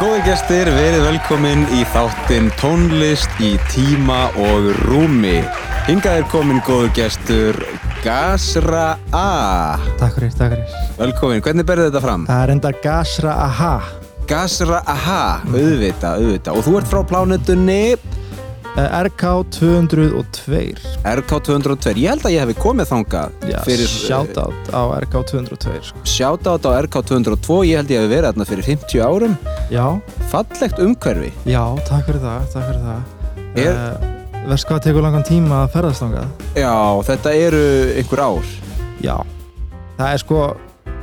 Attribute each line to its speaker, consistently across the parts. Speaker 1: Góði gestir, verið velkomin í þáttinn tónlist í tíma og rúmi. Hingað er komin góður gestur Gasra A.
Speaker 2: Takk fyrir, takk fyrir.
Speaker 1: Velkomin, hvernig berðu þetta fram?
Speaker 2: Það er enda Gasra Aha.
Speaker 1: Gasra Aha, auðvitað, auðvitað. Og þú ert frá plánetunni
Speaker 2: Eh, RK 202.
Speaker 1: RK202. Ég held að ég hefði komið þangað
Speaker 2: Já,
Speaker 1: fyrir... eh,
Speaker 2: shoutout á RK 202. Sko.
Speaker 1: Shoutout á RK202. Ég held ég hefði verið þarna fyrir 50 árum.
Speaker 2: Já,
Speaker 1: Fallegt umhverfi.
Speaker 2: já, takk fyrir það, takk fyrir það.
Speaker 1: Er-
Speaker 2: Eh, Verst hvað tekur langan tíma að ferðast þangað?
Speaker 1: Já, þetta eru einhver ár.
Speaker 2: Já. Það er sko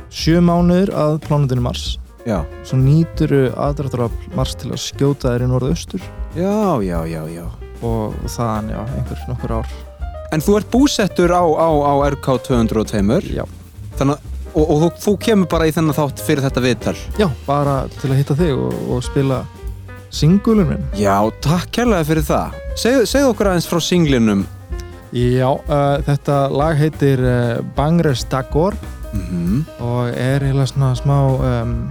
Speaker 2: sjö mánuður að plánundinu Mars.
Speaker 1: Já.
Speaker 2: Svo nýturu aðdraftarafl Mars til að skjóta þér í norðaustur
Speaker 1: Já, já, já, já.
Speaker 2: og þaðan, já, einhver nokkur ár.
Speaker 1: En þú ert búsettur á, á, á RK202
Speaker 2: Já.
Speaker 1: þannig, að- og, og þú, þú kemur bara í þennan þátt fyrir þetta viðtal.
Speaker 2: Já, bara til að hitta þig og, og spila singulun minn.
Speaker 1: Já, takk kærlega fyrir það. Segð, segð okkur aðeins frá singlinum.
Speaker 2: Já, uh, þetta lag heitir uh, Bangres Dagor
Speaker 1: Mm -hmm.
Speaker 2: og er heila svona smá um,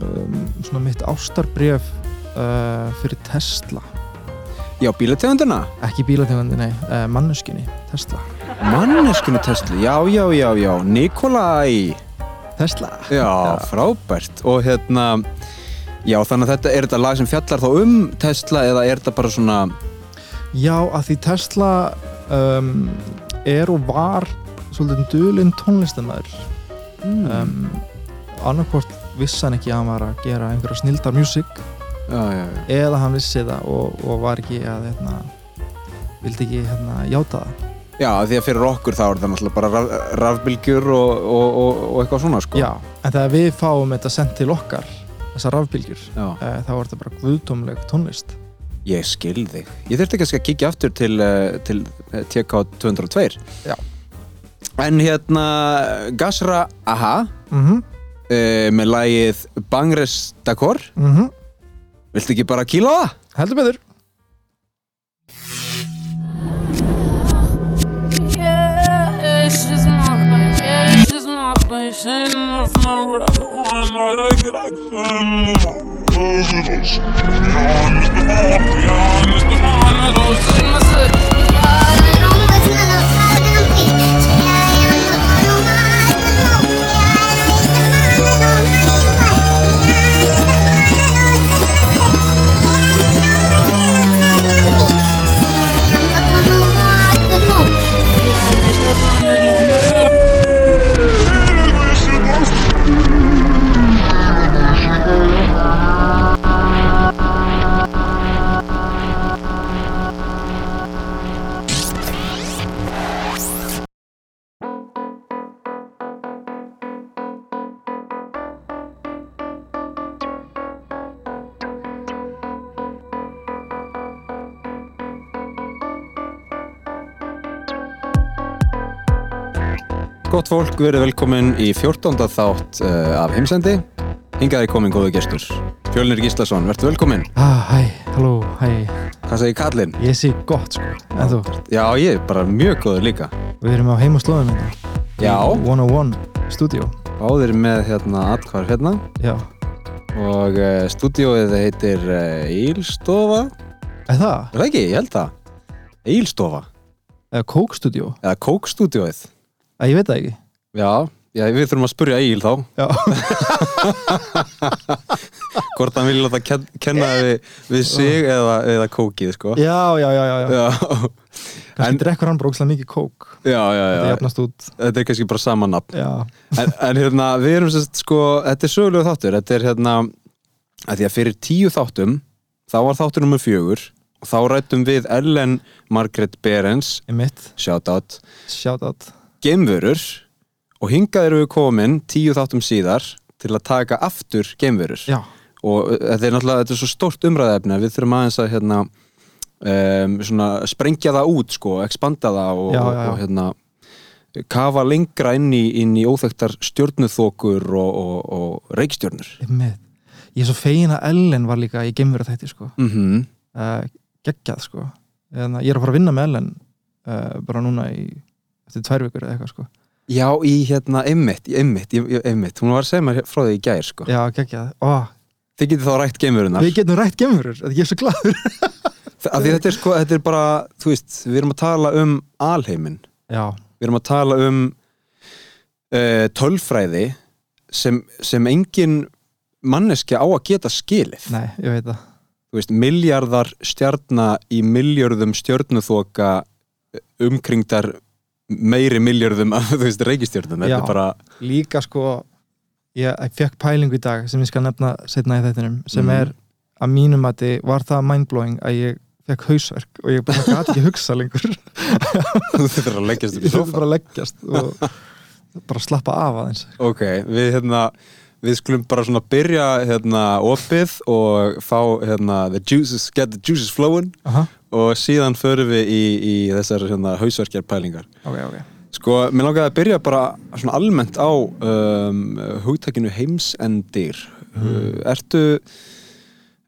Speaker 2: um, svona mitt ástarbref uh, fyrir Tesla
Speaker 1: Já, bílategundina.
Speaker 2: ekki bílategandi, nei, uh, mannuskinni Tesla.
Speaker 1: Manneskinu Tesla. Já, já, já, já. Nikolai.
Speaker 2: Tesla?
Speaker 1: Já, frábært. Og hérna, já, þannig að þetta er þetta lag sem fjallar þá um Tesla eða er þetta bara svona,
Speaker 2: Já, að því Tesla um, er og var svolítið dulinn tónlistamæður
Speaker 1: mm,
Speaker 2: um, annarkvort vissi hann ekki að hann var að gera einhverja snildar music
Speaker 1: já, já, já.
Speaker 2: eða hann vissi það og, og var ekki að hérna, vildi ekki hérna, játa það
Speaker 1: Já, því að fyrir okkur þá er það náttúrulega bara raf, rafbylgjur og, og, og, og eitthvað svona, sko.
Speaker 2: Já, en þegar við fáum þetta sendt til okkar þessar rafbylgjur
Speaker 1: Já.
Speaker 2: eh, þá er þetta bara guðdómleg tónlist
Speaker 1: Ég skil þig. Ég þurfti kannski að kíkja aftur til, eh, til eh, TK202.
Speaker 2: Já.
Speaker 1: En hérna, Gasra Aha,
Speaker 2: mm -hmm,
Speaker 1: uh, með lagið Bangres Dakor. Viltu ekki bara kíla á það?
Speaker 2: mhm. Heldur betur
Speaker 3: Yeah, she's my, yeah, she's my, she's my, my,
Speaker 1: Gott fólk, verið velkomin í 14. þátt uh, af heimsendi. Hingaði komin góðu gestur. Fjölnir Gíslason, verður velkomin.
Speaker 2: ah, Hæ, halló, hæ,
Speaker 1: Hvað segir Kallinn?
Speaker 2: ég sé gott sko En þú,
Speaker 1: Já, ég er bara mjög góður líka.
Speaker 2: við erum á heim og slóðum hérna
Speaker 1: Já,
Speaker 2: 101 Studio
Speaker 1: báðir með hérna allkvar hérna
Speaker 2: Já,
Speaker 1: og uh, stúdíóið heitir uh, Ílstofa.
Speaker 2: er það?
Speaker 1: Er það ekki? Ég held það. Egilstofa.
Speaker 2: Eða Coke Studio?
Speaker 1: Eða Kókstúdióið.
Speaker 2: Að ég veit það ekki
Speaker 1: Já, já, við þurfum að spurja Egil þá.
Speaker 2: Já,
Speaker 1: Hvort hann vilja láta ken kenna við, við sig eða, eða kókið, sko.
Speaker 2: já, já, já, já, já.
Speaker 1: Já,
Speaker 2: Kannski
Speaker 1: En-
Speaker 2: drekkur hann brókslega mikið kók
Speaker 1: já, já.
Speaker 2: Þetta
Speaker 1: já.
Speaker 2: jafnast út
Speaker 1: Þetta er kannski bara sama nafn.
Speaker 2: Já,
Speaker 1: En, en hérna, við erum sérst, sko, þetta er sögulegu þáttur. Þetta er hérna, að því að fyrir tíu þáttum, þá var þáttur nummer fjögur og þá rættum við Ellen Margaret Berens,
Speaker 2: einmitt
Speaker 1: shout out,
Speaker 2: Shoutout
Speaker 1: geimverur og hingað eru við komin tíu þáttum síðar til að taka aftur geimverur
Speaker 2: Já,
Speaker 1: og uh, þetta er náttúrulega þetta er svo stort umræðefni að við þurfum aðeins að hérna, um, svona, sprengja það út sko, expanda það og,
Speaker 2: Já, já, já.
Speaker 1: og hérna, kafa lengra inn í, inn í óþekktar stjörnuþokur og, og, og reikstjörnur
Speaker 2: einmitt Ég er svo fegin að Ellen var líka í geimveru þætti sko
Speaker 1: mm
Speaker 2: uh, geggjað sko en ég er að fara að vinna með Ellen uh, bara núna í eftir tvær vikur eða eitthvað sko
Speaker 1: Já, í hérna, einmitt, einmitt, ég- ég- einmitt, hún var að segja mér frá því í gær, sko.
Speaker 2: já geggjað, ó,
Speaker 1: Þið getið þá rætt geimverunar
Speaker 2: Við getum rætt gemurur, ég er svo gladur
Speaker 1: Af því þetta er sko, þetta er bara, þú veist, við erum að tala um alheiminn
Speaker 2: Já,
Speaker 1: Við erum að tala um uh, tölfræði sem, sem engin manneskja á að geta skilið
Speaker 2: nei, ég veit það
Speaker 1: Þú veist, miljardar stjarna í miljörðum stjörnuþoka eh, umkringdar meiri miljörðum af, þú veist, reikistjörnum Þetta
Speaker 2: Já.
Speaker 1: er bara,
Speaker 2: Líka sko, ég, ég fekk pælingu í dag sem ég skal nefna setna í þættinum sem
Speaker 1: Mhm.
Speaker 2: er að mínum að var það mindblowing að ég fekk hausverk og ég bara gæti ekki hugsa lengur
Speaker 1: þú þurftur að leggjast upp
Speaker 2: Ég
Speaker 1: í
Speaker 2: þurfti
Speaker 1: sofa
Speaker 2: bara að leggjast og bara slappa af aðeins
Speaker 1: Ok, við hérna við skulum bara svona byrja hérna opið og fá hérna the juices, get the juices flowing
Speaker 2: Aha,
Speaker 1: og síðan förum við í, í þessar hérna hausverkjar pælingar
Speaker 2: ok, ok
Speaker 1: Sko, mér langaði að byrja bara svona almennt á um, hugtakinu heimsendir mm. Ertu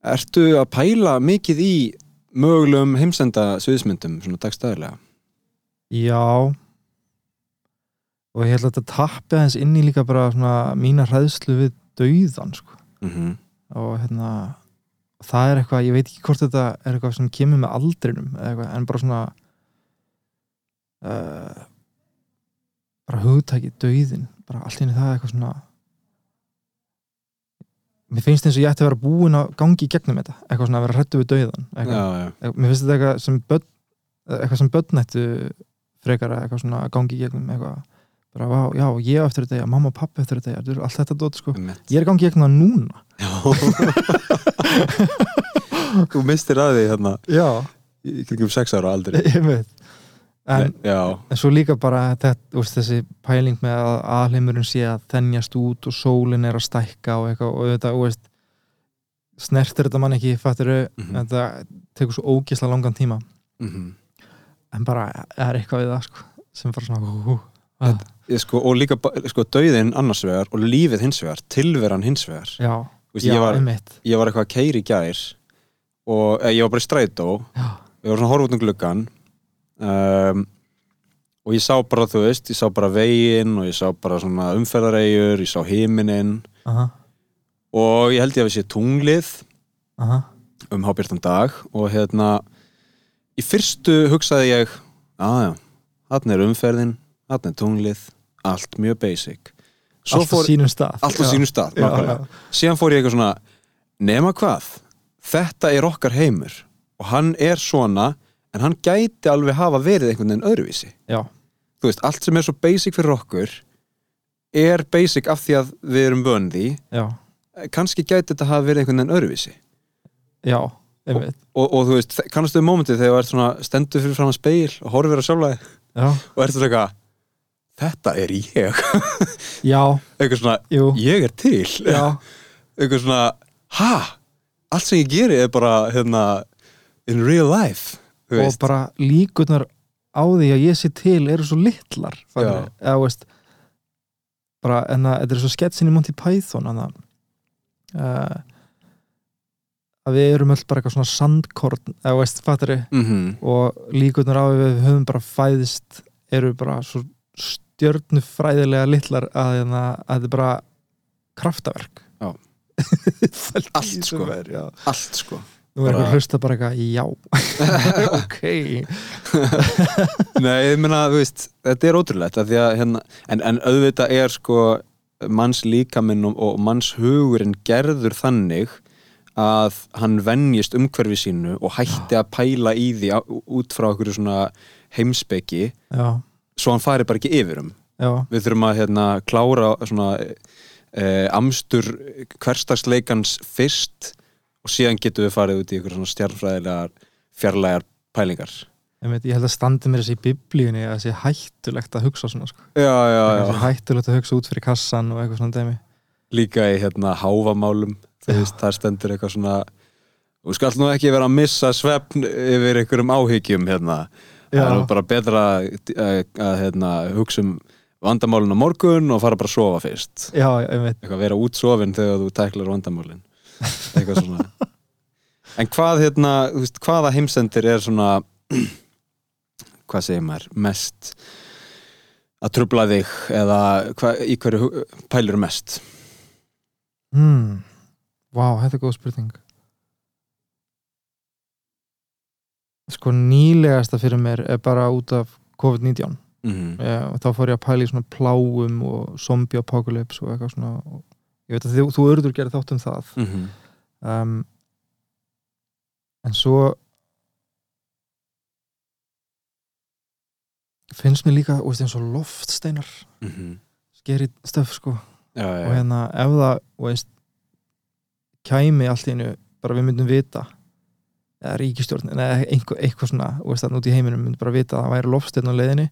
Speaker 1: ertu að pæla mikið í mögulegum heimsenda sviðismyndum svona dagstæðilega?
Speaker 2: Já og ég held að þetta tappi aðeins inn í líka bara svona mína hræðslu við dauðan sko.
Speaker 1: Mm -hmm.
Speaker 2: og hérna það er eitthvað, ég veit ekki hvort þetta er eitthvað sem kemur með aldrinum eða eitthvað, en bara svona uh, bara hugtæki dauðin, bara allt inni það er eitthvað svona mér finnst eins og ég ætti að vera búin að gangi í gegnum þetta, eitthvað svona að vera hrættu við dauðan eitthvað,
Speaker 1: Já, já,
Speaker 2: Eitthvað- mér finnst þetta eitthvað sem börn eitthvað sem börn ættu frekar að eitthvað svona gangi í gegnum eitthvað bara, vá, já, ég á eftir þetta, já, mamma og pappi eftir þetta, já, allt þetta dót, sko
Speaker 1: einmitt.
Speaker 2: ég er í gangi í gegnum það núna
Speaker 1: Já Þú mistir að því hérna
Speaker 2: já,
Speaker 1: í kringum sex ára aldrei
Speaker 2: ég veit en,
Speaker 1: Já,
Speaker 2: en svo líka bara þetta, úst, þessi pæling með að alheimurinn sé að þennjast út og sólin er að stækka og eitthvað og þetta, úst, snertir þetta mann ekki fatturu,
Speaker 1: Mhm.
Speaker 2: þetta tekur svo ógisla langan tíma
Speaker 1: mm
Speaker 2: en bara er eitthvað við það, sko sem bara svona, hú, hú, hú.
Speaker 1: ég, sko, og líka ba- sko, dauðin annars vegar og lífið hins vegar, tilveran hins vegar
Speaker 2: já
Speaker 1: Vist,
Speaker 2: já,
Speaker 1: ég, var,
Speaker 2: einmitt
Speaker 1: ég var eitthvað að keiri í gær og eh, ég var bara í strætó
Speaker 2: já,
Speaker 1: ég var svona að horfa út um gluggan um, og ég sá bara, þú veist, ég sá bara veginn og ég sá bara svona umferðaregjur ég sá himinin
Speaker 2: aha,
Speaker 1: og ég held ég að við sé tunglið
Speaker 2: aha,
Speaker 1: um hábjartan dag og hérna í fyrstu hugsaði ég aðja, þarna er umferðin þarna er tunglið, allt mjög basic svo
Speaker 2: allt á
Speaker 1: fór
Speaker 2: sínum stað
Speaker 1: allt á
Speaker 2: Já,
Speaker 1: sínum stað
Speaker 2: já,
Speaker 1: nákvæmlega. síðan fór ég eitthvað svona nema hvað, þetta er okkar heimur og hann er svona en hann gæti alveg hafa verið einhvern veginn öðruvísi
Speaker 2: já,
Speaker 1: þú veist, allt sem er svo basic fyrir okkur er basic af því að við erum vön því
Speaker 2: já,
Speaker 1: kannski gæti þetta hafa verið einhvern veginn öðruvísi
Speaker 2: já, einmitt
Speaker 1: og, og þú veist, kannastu um mómentið þegar þú ert svona stendur fyrir fram að speil og horfir á sjálflega
Speaker 2: já,
Speaker 1: og ert svona eitthvað þetta er ég
Speaker 2: já,
Speaker 1: eitthvað svona,
Speaker 2: jú,
Speaker 1: ég er til
Speaker 2: já
Speaker 1: eitthvað svona, ha allt sem ég geri er bara hérna, in real life þú
Speaker 2: og
Speaker 1: veist,
Speaker 2: bara líkurnar á því að ég sé til eru svo litlar
Speaker 1: Já.
Speaker 2: þannig, eða veist bara, en það, þetta er svo sketsin í Monty Python að uh, að við erum öll bara eitthvað svona sandkorn eða veist, fattari
Speaker 1: mhm,
Speaker 2: og líkurnar á því að við höfum bara fæðist eru bara svo stjörnufræðilega litlar að, hérna- að þetta er bara kraftaverk
Speaker 1: Já.
Speaker 2: Fælt
Speaker 1: Allt,
Speaker 2: í
Speaker 1: sko.
Speaker 2: sem er, já.
Speaker 1: allt sko
Speaker 2: Nú er
Speaker 1: Bara-
Speaker 2: eitthvað að hlusta bara eitthvað, já Ok
Speaker 1: Nei, ég meina, þú veist, þetta er ótrúlegt af því að, hérna, en, en auðvitað er sko manns líkaminn og, og manns hugurinn gerður þannig að hann venjist umhverfi sínu og hætti að pæla í því á- út frá okkur svona heimspeki
Speaker 2: Já,
Speaker 1: svo hann fari bara ekki yfir um
Speaker 2: já,
Speaker 1: við þurfum að hérna, klára svona eh, amstur hverstagsleikans fyrst og síðan getum við farið út í ykkur svona stjarnfræðilegar fjarlægar pælingar
Speaker 2: ég, veit, ég held að standi mér þessi í biblíunni að þessi hættulegt að hugsa svona sko.
Speaker 1: Já, já, já
Speaker 2: Þessi hættulegt að hugsa út fyrir kassan og eitthvað svona dæmi
Speaker 1: líka í hérna háfamálum þú veist, þar stendur eitthvað svona þú skall nú ekki vera að missa svefn yfir einhverjum áhyggjum hérna það
Speaker 2: Já.
Speaker 1: er nú bara betra að, að, að hérna, hugsa um vandamálun á morgun og fara bara að sofa fyrst
Speaker 2: Já, já, ég veit
Speaker 1: eitthvað vera útsofin þegar þú tæklar vandamálin eitthvað svona en hvað hérna, þú veist, hvaða heimsendir er svona hvað segir maður, mest að trubla þig eða hva, í hverju hu- pælirðu mest
Speaker 2: hmm. Vá, þetta er góð spurning Sko nýlegasta fyrir mér er bara út af COVID-19
Speaker 1: mm.
Speaker 2: Eh, og þá fór ég að pæla í svona pláum og zombie apocalypse og eitthvað svona og ég veit að þú, þú örður gerir þátt um það
Speaker 1: Mm -hmm.
Speaker 2: um, en svo finnst mér líka, þú veist, eins og loftsteinar
Speaker 1: Mm -hmm.
Speaker 2: skeri stöf sko
Speaker 1: Já, já,
Speaker 2: og
Speaker 1: já.
Speaker 2: hérna ef það þú veist, kæmi allt í einu bara við myndum vita eða ríkistjórn, eða einhver, eitthvað svona þú veist, þannig út í heiminum myndum bara vita að það væri lofsteinn á leiðinni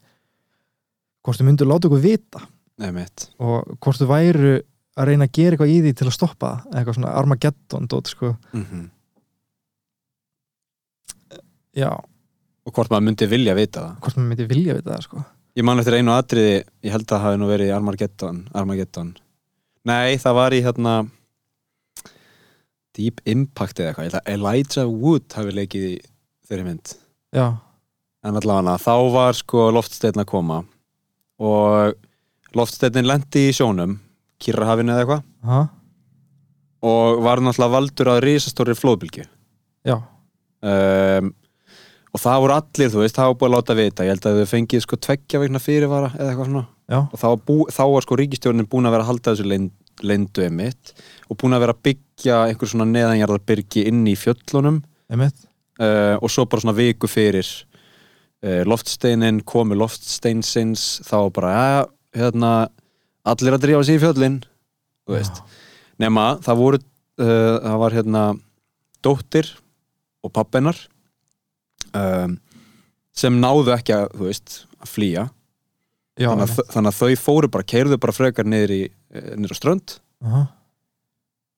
Speaker 2: hvort þau myndu láta okkur vita
Speaker 1: Nei, mitt.
Speaker 2: og hvort þau væru að reyna að gera eitthvað í því til að stoppa það, eitthvað svona Armageddon dót sko,
Speaker 1: Mm
Speaker 2: já,
Speaker 1: Og hvort maður myndi vilja vita það.
Speaker 2: hvort maður myndi vilja vita það sko
Speaker 1: Ég man eftir einu atriði, ég held að það hafi nú verið í Armageddon, Armageddon. Nei, það var í hérna Deep Impact eða eitthvað, ég held að Elijah Wood hafi leikið í þeirri mynd.
Speaker 2: já,
Speaker 1: En allavega þá var sko loftsteinn að koma og loftsteinn lendi í sjónum, Kirrahafinu eða eitthvað
Speaker 2: ha,
Speaker 1: og var náttúrulega valdur að risastóri flóðbylgju.
Speaker 2: já,
Speaker 1: Um, og það voru allir, þú veist, það var búið að láta vita, ég held að þau fengið sko tveggja vegna fyrirvara eða eitthvað svona.
Speaker 2: já,
Speaker 1: og þá var, bú, þá var sko ríkistjórnin búin að vera að halda þessu leynd, leyndu emitt og búin að vera að byggja einhver svona neðanjarðarbyrgi inn í fjöllunum
Speaker 2: einmitt
Speaker 1: uh, og svo bara svona viku fyrir uh, loftsteinin komi loftsteinsins þá var bara, ja, hérna allir að drífa sér í fjöllin þú veist, nema það voru uh, það var hérna dóttir og pappennar um, sem náðu ekki að, þú veist, að flýja
Speaker 2: já, já,
Speaker 1: þannig, að,
Speaker 2: einmitt,
Speaker 1: þau- þannig að þau fóru bara, keirðu bara frekar niður, í, eh, niður á strönd
Speaker 2: aha,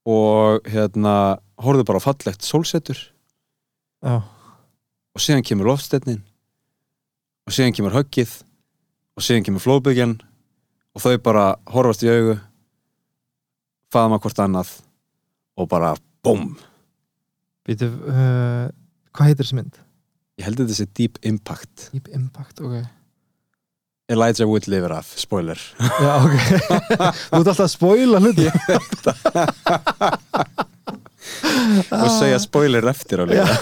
Speaker 1: og hérna horfðu bara á fallegt sólsetur
Speaker 2: já,
Speaker 1: og síðan kemur lofstetnin og síðan kemur höggið og síðan kemur flóðbyggjan og þau bara horfast í augu faðma hvort annað og bara BOOM
Speaker 2: býtu uh, hvað heitir þessi mynd?
Speaker 1: ég held að þetta sé Deep Impact
Speaker 2: Deep Impact, ok
Speaker 1: Elijah Wood lifir af, spoiler
Speaker 2: Já, ok. Þú ert alltaf að spoila hluti. Ah.
Speaker 1: og segja spoiler eftir á líka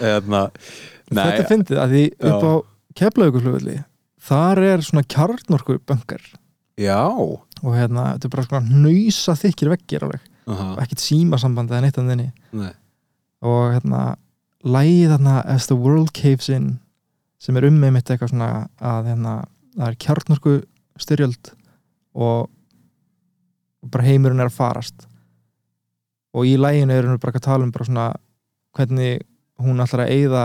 Speaker 1: hérna,
Speaker 2: Þetta
Speaker 1: nei,
Speaker 2: er fyndið að því upp á keflaugurflugulli, þar er svona kjarnorku bankar
Speaker 1: já
Speaker 2: og hérna, þetta er bara svona nöysa þykir veggir alveg,
Speaker 1: aha,
Speaker 2: og ekkert símasamband eða neitt af þenni
Speaker 1: nei
Speaker 2: og hérna, lægið þarna As the World Caves In sem er um með mitt eitthvað svona að hérna, það er kjarnorku styrjöld og bara heimurinn er að farast og í læginu erum við bara að tala um bara svona hvernig hún ætlar að eyða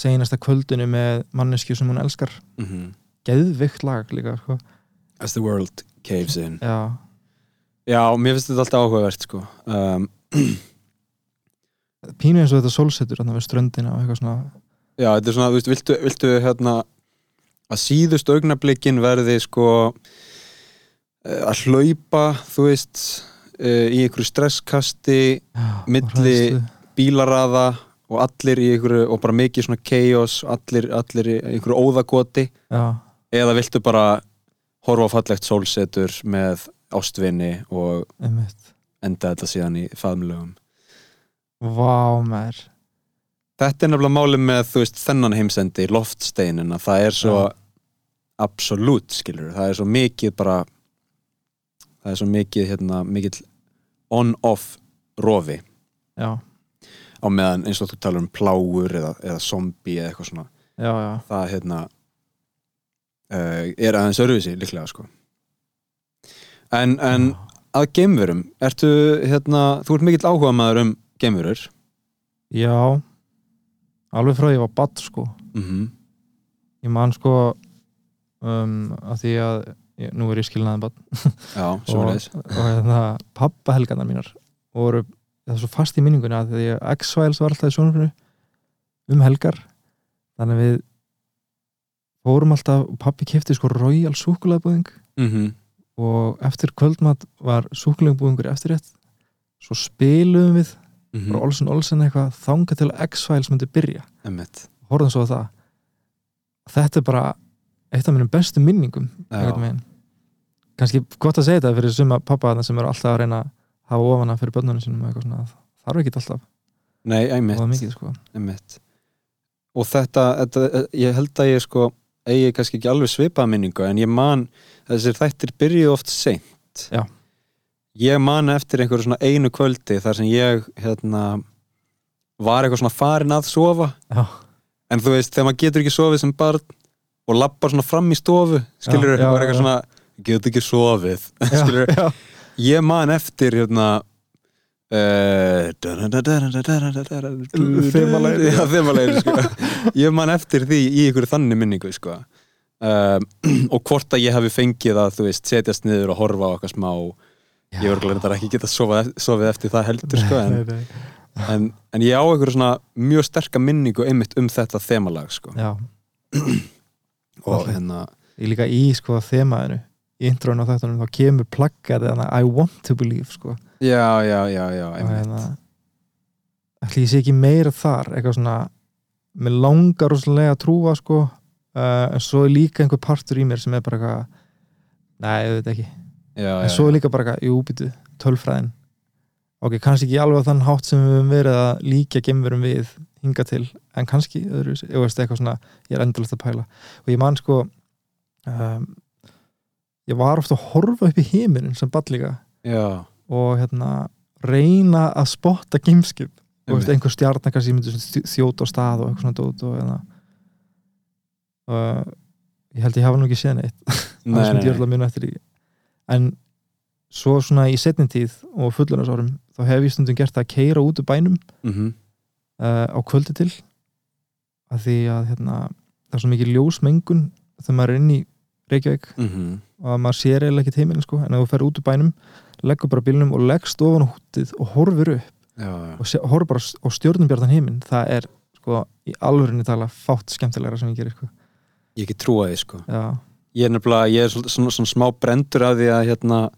Speaker 2: seinasta kvöldinu með mannesku sem hún elskar
Speaker 1: mm
Speaker 2: geðvikt lag líka sko.
Speaker 1: As the world caves in
Speaker 2: já,
Speaker 1: Já, mér finnst þetta alltaf áhugavert sko um,
Speaker 2: pínu eins og þetta sólsetur þarna við ströndina og eitthvað svona
Speaker 1: Já, þetta er svona, þú veist, viltu, viltu hérna að síðust augnablikin verði sko eh, að hlaupa, þú veist eh, í einhverju stresskasti
Speaker 2: já, og
Speaker 1: Milli-
Speaker 2: hræðslu.
Speaker 1: bílaraða og allir í einhverju og bara mikið svona chaos allir, allir í einhverju óðagoti
Speaker 2: já,
Speaker 1: eða viltu bara horfa á fallegt sólsetur með ástvinni og
Speaker 2: einmitt
Speaker 1: enda þetta síðan í faðmlögum
Speaker 2: vá mér
Speaker 1: Þetta er nefnilega málið með, þú veist, þennan heimsendi, loftsteinin, að það er svo
Speaker 2: Já.
Speaker 1: absolutt, skilur, það er svo mikið bara, það er svo mikið, hérna, mikill on-off rofi
Speaker 2: já,
Speaker 1: á meðan eins og þú talar um plágur eða, eða zombie eða eitthvað svona,
Speaker 2: já, já
Speaker 1: það, hérna, uh, er aðeins örfisi, líklega, sko. En, en að geimverum, ertu, hérna, þú ert mikill áhuga maður um geimverur,
Speaker 2: Já, alveg frá því ég var badd sko.
Speaker 1: mhm,
Speaker 2: Ég man sko um, að því að ég, nú er ég skilnaði badd
Speaker 1: já, svo
Speaker 2: og, og hérna, pappa helgarnar mínar voru það er svo fast í minningunni að því að X-Files var alltaf í sjónurinu um helgar þannig að við fórum alltaf og pappi kefti sko Royal súkulaðbúðing
Speaker 1: mhm,
Speaker 2: og eftir kvöldmatt var súkulaðbúðingur eftirrétt svo spiluðum við
Speaker 1: mhm,
Speaker 2: bara Olsen Olsen eitthvað þanga til að X-Files myndi byrja
Speaker 1: emmitt.
Speaker 2: horfðum svo á það þetta er bara eitt af mínum bestu minningum
Speaker 1: Já.
Speaker 2: einhvern veginn. kannski gott að segja þetta fyrir suma pappaðarna sem eru alltaf að reyna að hafa ofana fyrir börnunum sínum og eitthvað svona það þarf ekki alltaf
Speaker 1: Nei,
Speaker 2: og það
Speaker 1: einmitt,
Speaker 2: mikið sko
Speaker 1: einmitt. Og þetta, þetta, ég held að ég sko eigi kannski ekki alveg svipað minningu en ég man, þessir þættir byrjuðu oft seint
Speaker 2: Já.
Speaker 1: Ég man eftir einhverju svona einu kvöldi þar sem ég hérna var eitthvað svona farin að sofa
Speaker 2: já,
Speaker 1: en þú veist, þegar maður getur ekki sofið sem barn og lappar svona fram í stofu skilur
Speaker 2: Já, já,
Speaker 1: þú, var eitthvað
Speaker 2: já.
Speaker 1: svona getur ekki sofið
Speaker 2: já,
Speaker 1: Skilurðu?
Speaker 2: já,
Speaker 1: ég man eftir hérna eh,
Speaker 2: Þemalegir.
Speaker 1: Já, þemalegir, sko. ég man eftir því í ykkur þannig minningu sko. um, og hvort að ég hafi fengið að þú veist, setjast niður og horfa á eitthvað smá ég voru glændar ekki geta sofað, sofið eftir það heldur sko, en,
Speaker 2: Nei, nei.
Speaker 1: en, en ég á einhverju svona mjög sterka minningu einmitt um þetta þemalag sko.
Speaker 2: já,
Speaker 1: og
Speaker 2: Fallegt.
Speaker 1: hérna
Speaker 2: ég líka í sko þemaðinu í introinu á þáttunum þá kemur plaggaði þannig I want to believe sko
Speaker 1: já, já, já, já, einmitt
Speaker 2: ætli hérna, ég sé ekki meira þar eitthvað svona mér langar rosalega að trúa sko uh, en svo er líka einhver partur í mér sem er bara eitthvað nei, ég veit ekki
Speaker 1: já,
Speaker 2: en
Speaker 1: já,
Speaker 2: svo er líka bara eitthvað, jú, býtu, tölfræðin ok, kannski ekki alveg á þann hátt sem við höfum verið að líka gemverum við hinga til, en kannski öðru, ég veist eitthvað svona, ég er endalast að pæla og ég man sko um, ég var ofta að horfa upp í heiminin sem ball líka
Speaker 1: já,
Speaker 2: og hérna reyna að spotta gameskip og
Speaker 1: einmitt.
Speaker 2: veist, einhver stjarnar kannski myndi svona þjó- þjóta á stað og eitthvað svona dót og hérna uh, ég held ég hafa nú ekki séð neitt
Speaker 1: Nei,
Speaker 2: það sem
Speaker 1: nei, nei.
Speaker 2: djörla mjög eftir í en svo svona í setni tíð og fullunarsárum þá hef ég stundum gert það að keira út úr bænum
Speaker 1: Mhm.
Speaker 2: uh, á kvöldi til að því að hérna, það er svo mikið ljósmengun þegar maður er inn í Reykjavík
Speaker 1: Mhm.
Speaker 2: og að maður sér eiginlega ekki heimilin sko en ef þú fer út úr bænum, leggur bara bílnum og leggst ofan á húttið og horfir upp
Speaker 1: já, já
Speaker 2: og sé- horfir bara á stjórnubjartan heiminn það er sko í alvörinni tala fátt skemmtilegra sem ég gerir sko
Speaker 1: Ég ekki trúa því sko
Speaker 2: já,
Speaker 1: Ég er nefnilega, ég er svona, svona, svona smá brendur af því að hérna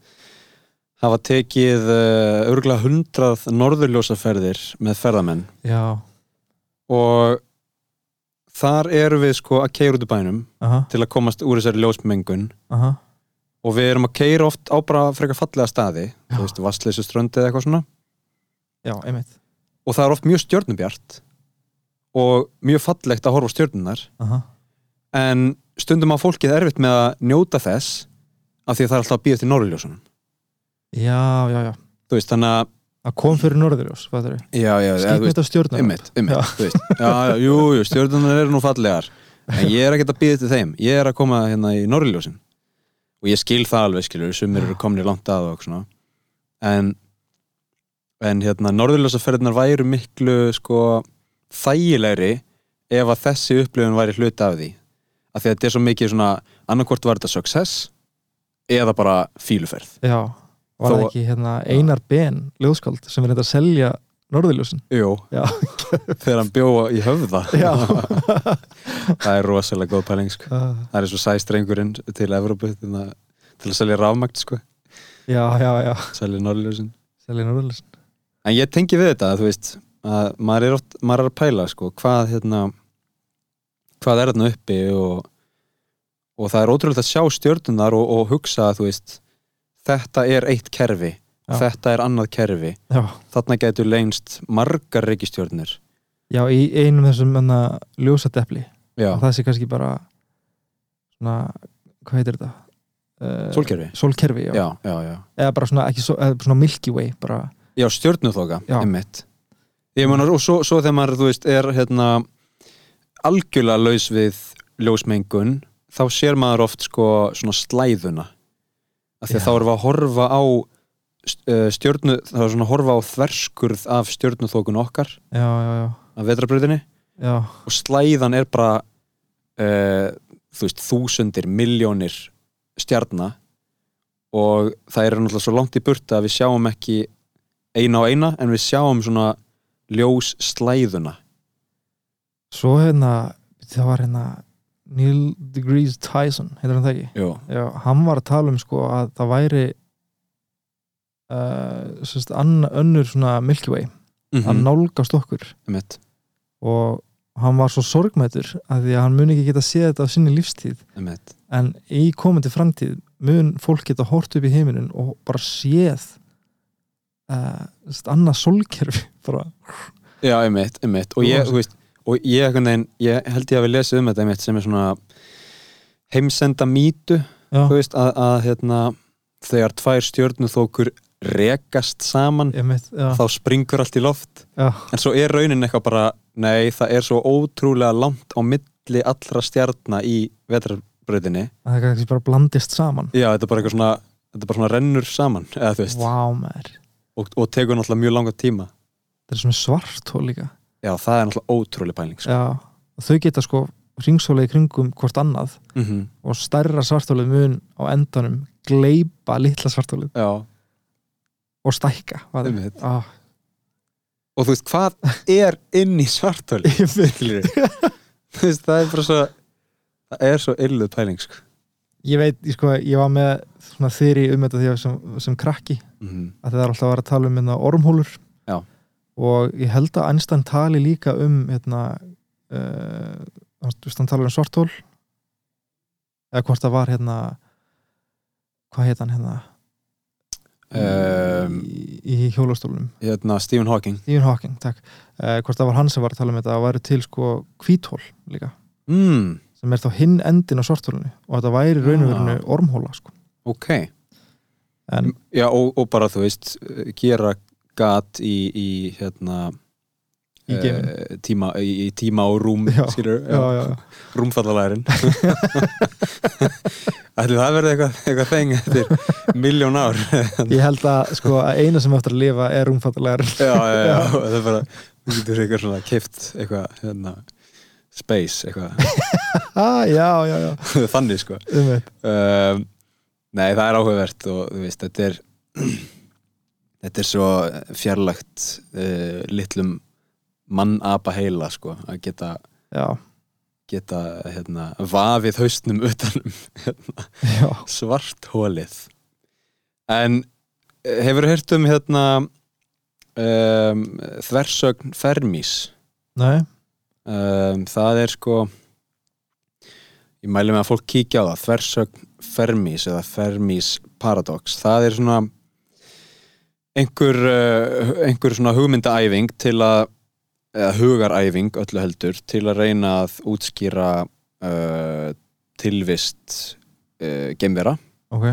Speaker 1: hafa tekið uh, örgulega hundrað norðurljósaferðir með ferðamenn
Speaker 2: já,
Speaker 1: og þar erum við sko að keira út í bænum
Speaker 2: aha,
Speaker 1: til að komast úr þessari ljósmengun
Speaker 2: aha
Speaker 1: og við erum að keira oft á bara frekar fallega staði
Speaker 2: Já.
Speaker 1: þú veist, vassleysuströndi eða eitthvað svona
Speaker 2: já, einmitt,
Speaker 1: og það er oft mjög stjörnubjart og mjög fallegt að horfa á stjörnunar
Speaker 2: aha,
Speaker 1: en stundum að fólkið erfitt með að njóta þess af því að það er alltaf að býja til norðurljósunum
Speaker 2: já, já, já
Speaker 1: þú veist, þannig að
Speaker 2: að kom fyrir norðurjós, hvað það er
Speaker 1: já, já, eða, þú
Speaker 2: skýt mitt af stjórnum
Speaker 1: Eh, einmitt, einmitt, þú veist já, já, jú, jú, stjórnunar eru nú fallegar en ég er ekkert að býða til þeim ég er að koma hérna í norðurljósin og ég skil það alveg, skilur, sumir eru komnir langt að og svona en, en hérna, norðurljósaferðinar væru miklu, sko þægilegri ef að þessi upplifun væri hluti af því af því að þetta er svo mikið svona, annarkvort var þetta success eða bara fíluferð
Speaker 2: já, var það
Speaker 1: Þó-
Speaker 2: ekki hérna Einar Ben, ljóðskald sem er þetta að selja norðurljósin
Speaker 1: Jú,
Speaker 2: Já.
Speaker 1: þegar hann bjóða í höfða
Speaker 2: Já.
Speaker 1: Það er rosalega góð pæling sko.
Speaker 2: uh,
Speaker 1: Það er svo sæstrengurinn til Evrópu til að, til að selja rafmagn sko.
Speaker 2: já, já, já,
Speaker 1: selja norðljósin
Speaker 2: selja norðurljósin
Speaker 1: En ég tengi við þetta, þú veist að maður er, oft, maður er að pæla sko, hvað, hérna, hvað er þarna uppi og, og það er ótrúlega að sjá stjörnunar og, og hugsa að þú veist þetta er eitt kerfi
Speaker 2: Já.
Speaker 1: þetta er annað kerfi
Speaker 2: já,
Speaker 1: þarna getur leynst margar reikistjörnir
Speaker 2: já, í einum þessum enna ljósadepli
Speaker 1: Já,
Speaker 2: og það sé kannski bara svona, hvað heitir þetta? Uh,
Speaker 1: sólkerfi
Speaker 2: Sólkerfi, já.
Speaker 1: Já, já, já
Speaker 2: eða bara svona, ekki, svo, eða bara svona Milky Way bara,
Speaker 1: Já, stjörnuþoka,
Speaker 2: Já.
Speaker 1: einmitt Ég menar, og svo, svo þegar maður, þú veist, er hérna algjörlega laus við ljósmengun, þá sér maður oft sko svona slæðuna af því að
Speaker 2: Já.
Speaker 1: þá erum við að horfa á st- eh, stjörnu, þá erum við svona að horfa á þverskurð af stjörnuþokun okkar
Speaker 2: já, já, já,
Speaker 1: af vetrabröðinni
Speaker 2: já
Speaker 1: og slæðan er bara uh, þú veist, þúsundir, miljónir stjarna og það er náttúrulega svo langt í burtu að við sjáum ekki eina á eina en við sjáum svona ljós slæðuna
Speaker 2: svo hérna, það var hérna Neil deGrasse Tyson heitir hann það ekki?
Speaker 1: Jó.
Speaker 2: Já, hann var að tala um sko að það væri uh, sérst, anna, önnur svona Milky Way
Speaker 1: Mm
Speaker 2: að nálgast okkur
Speaker 1: Einmitt,
Speaker 2: og hann var svo sorgmætur að því að hann muni ekki geta séð þetta á sinni lífstíð
Speaker 1: einmitt.
Speaker 2: en í komandi framtíð mun fólk geta hort upp í heiminin og bara séð uh, annað sólkerfi bara,
Speaker 1: Já, einmitt, einmitt og ég, þú veist, og ég, einhvern veginn, ég held ég að við lesið um þetta einmitt sem er svona heimsenda mýtu
Speaker 2: já,
Speaker 1: þú veist, að, að hérna, þegar tvær stjörnuþókur rekast saman
Speaker 2: einmitt, já,
Speaker 1: þá springur allt í loft
Speaker 2: já,
Speaker 1: en svo er raunin eitthvað bara, nei, það er svo ótrúlega langt á milli allra stjarna í vetrarbrautinni
Speaker 2: að það kannski bara blandist saman
Speaker 1: Já, þetta er bara eitthvað svona þetta er bara svona rennur saman, eða þú veist
Speaker 2: Vá maður,
Speaker 1: og, og tekur náttúrulega mjög langa tíma
Speaker 2: það er svona svart hól líka
Speaker 1: Já, það er náttúrulega ótrúlega pæling sko.
Speaker 2: já, og þau geta sko ringsóla í kringum hvort annað
Speaker 1: mm
Speaker 2: og stærra svartólið mun á endanum gleipa litla svartólið
Speaker 1: Já,
Speaker 2: og stækka Hvað er-
Speaker 1: einmitt
Speaker 2: Ah,
Speaker 1: og þú veist, hvað er inn í svartölu? Skilurðu? þú veist, það er bara svo það er svo illuð pæling sko.
Speaker 2: ég veit, ég, sko, ég var með svona þyri um þetta þegar sem, sem krakki
Speaker 1: mm.
Speaker 2: að það er alltaf að vera að tala um hérna, ormhólur
Speaker 1: Já.
Speaker 2: og ég held að Einstein tali líka um hérna, uh, þú veist hann talar um svartól eða hvort það var hérna hvað heit hann hérna
Speaker 1: um,
Speaker 2: í, í hjólastólunum
Speaker 1: hérna, Stephen Hawking
Speaker 2: Stephen Hawking, takk uh, hvort það var hann sem var að tala um þetta að væri til sko hvítól líka
Speaker 1: mm,
Speaker 2: sem er þá hinn endin á svartólunni og þetta væri raunverinu
Speaker 1: Já.
Speaker 2: ormhóla sko.
Speaker 1: ok
Speaker 2: en
Speaker 1: Já, og, og bara, þú veist, gera gat í, í hérna
Speaker 2: Í geiminn.
Speaker 1: eh, tíma, í, í tíma og rúm
Speaker 2: Já,
Speaker 1: skilur,
Speaker 2: já, já,
Speaker 1: rúmfallalærin Ætli það verði eitthvað, eitthvað þeng eftir miljón ár
Speaker 2: ég held að, sko, að eina sem eftir að lifa er umfattalega
Speaker 1: já, já, já, það er bara þú getur eitthvað svona kift eitthvað hérna, space, eitthvað
Speaker 2: ah, já, já, já,
Speaker 1: þannig sko
Speaker 2: um veit
Speaker 1: um, nei, það er áhugavert og þú veist, þetta er þetta er svo fjarlægt uh, litlum mannapa heila sko að geta,
Speaker 2: já,
Speaker 1: geta hérna, vafið haustnum utanum hérna,
Speaker 2: já,
Speaker 1: svarthólið en eh, hefur heyrt um hérna um, þversögn Fermis
Speaker 2: nei,
Speaker 1: um, það er sko ég mæli með að fólk kíkja á það þversögn Fermis eða Fermis Paradox það er svona einhver, uh, einhver svona hugmyndaæfing til að eða hugaræfing öllu heldur til að reyna að útskýra uh, tilvist uh, geimvera
Speaker 2: ok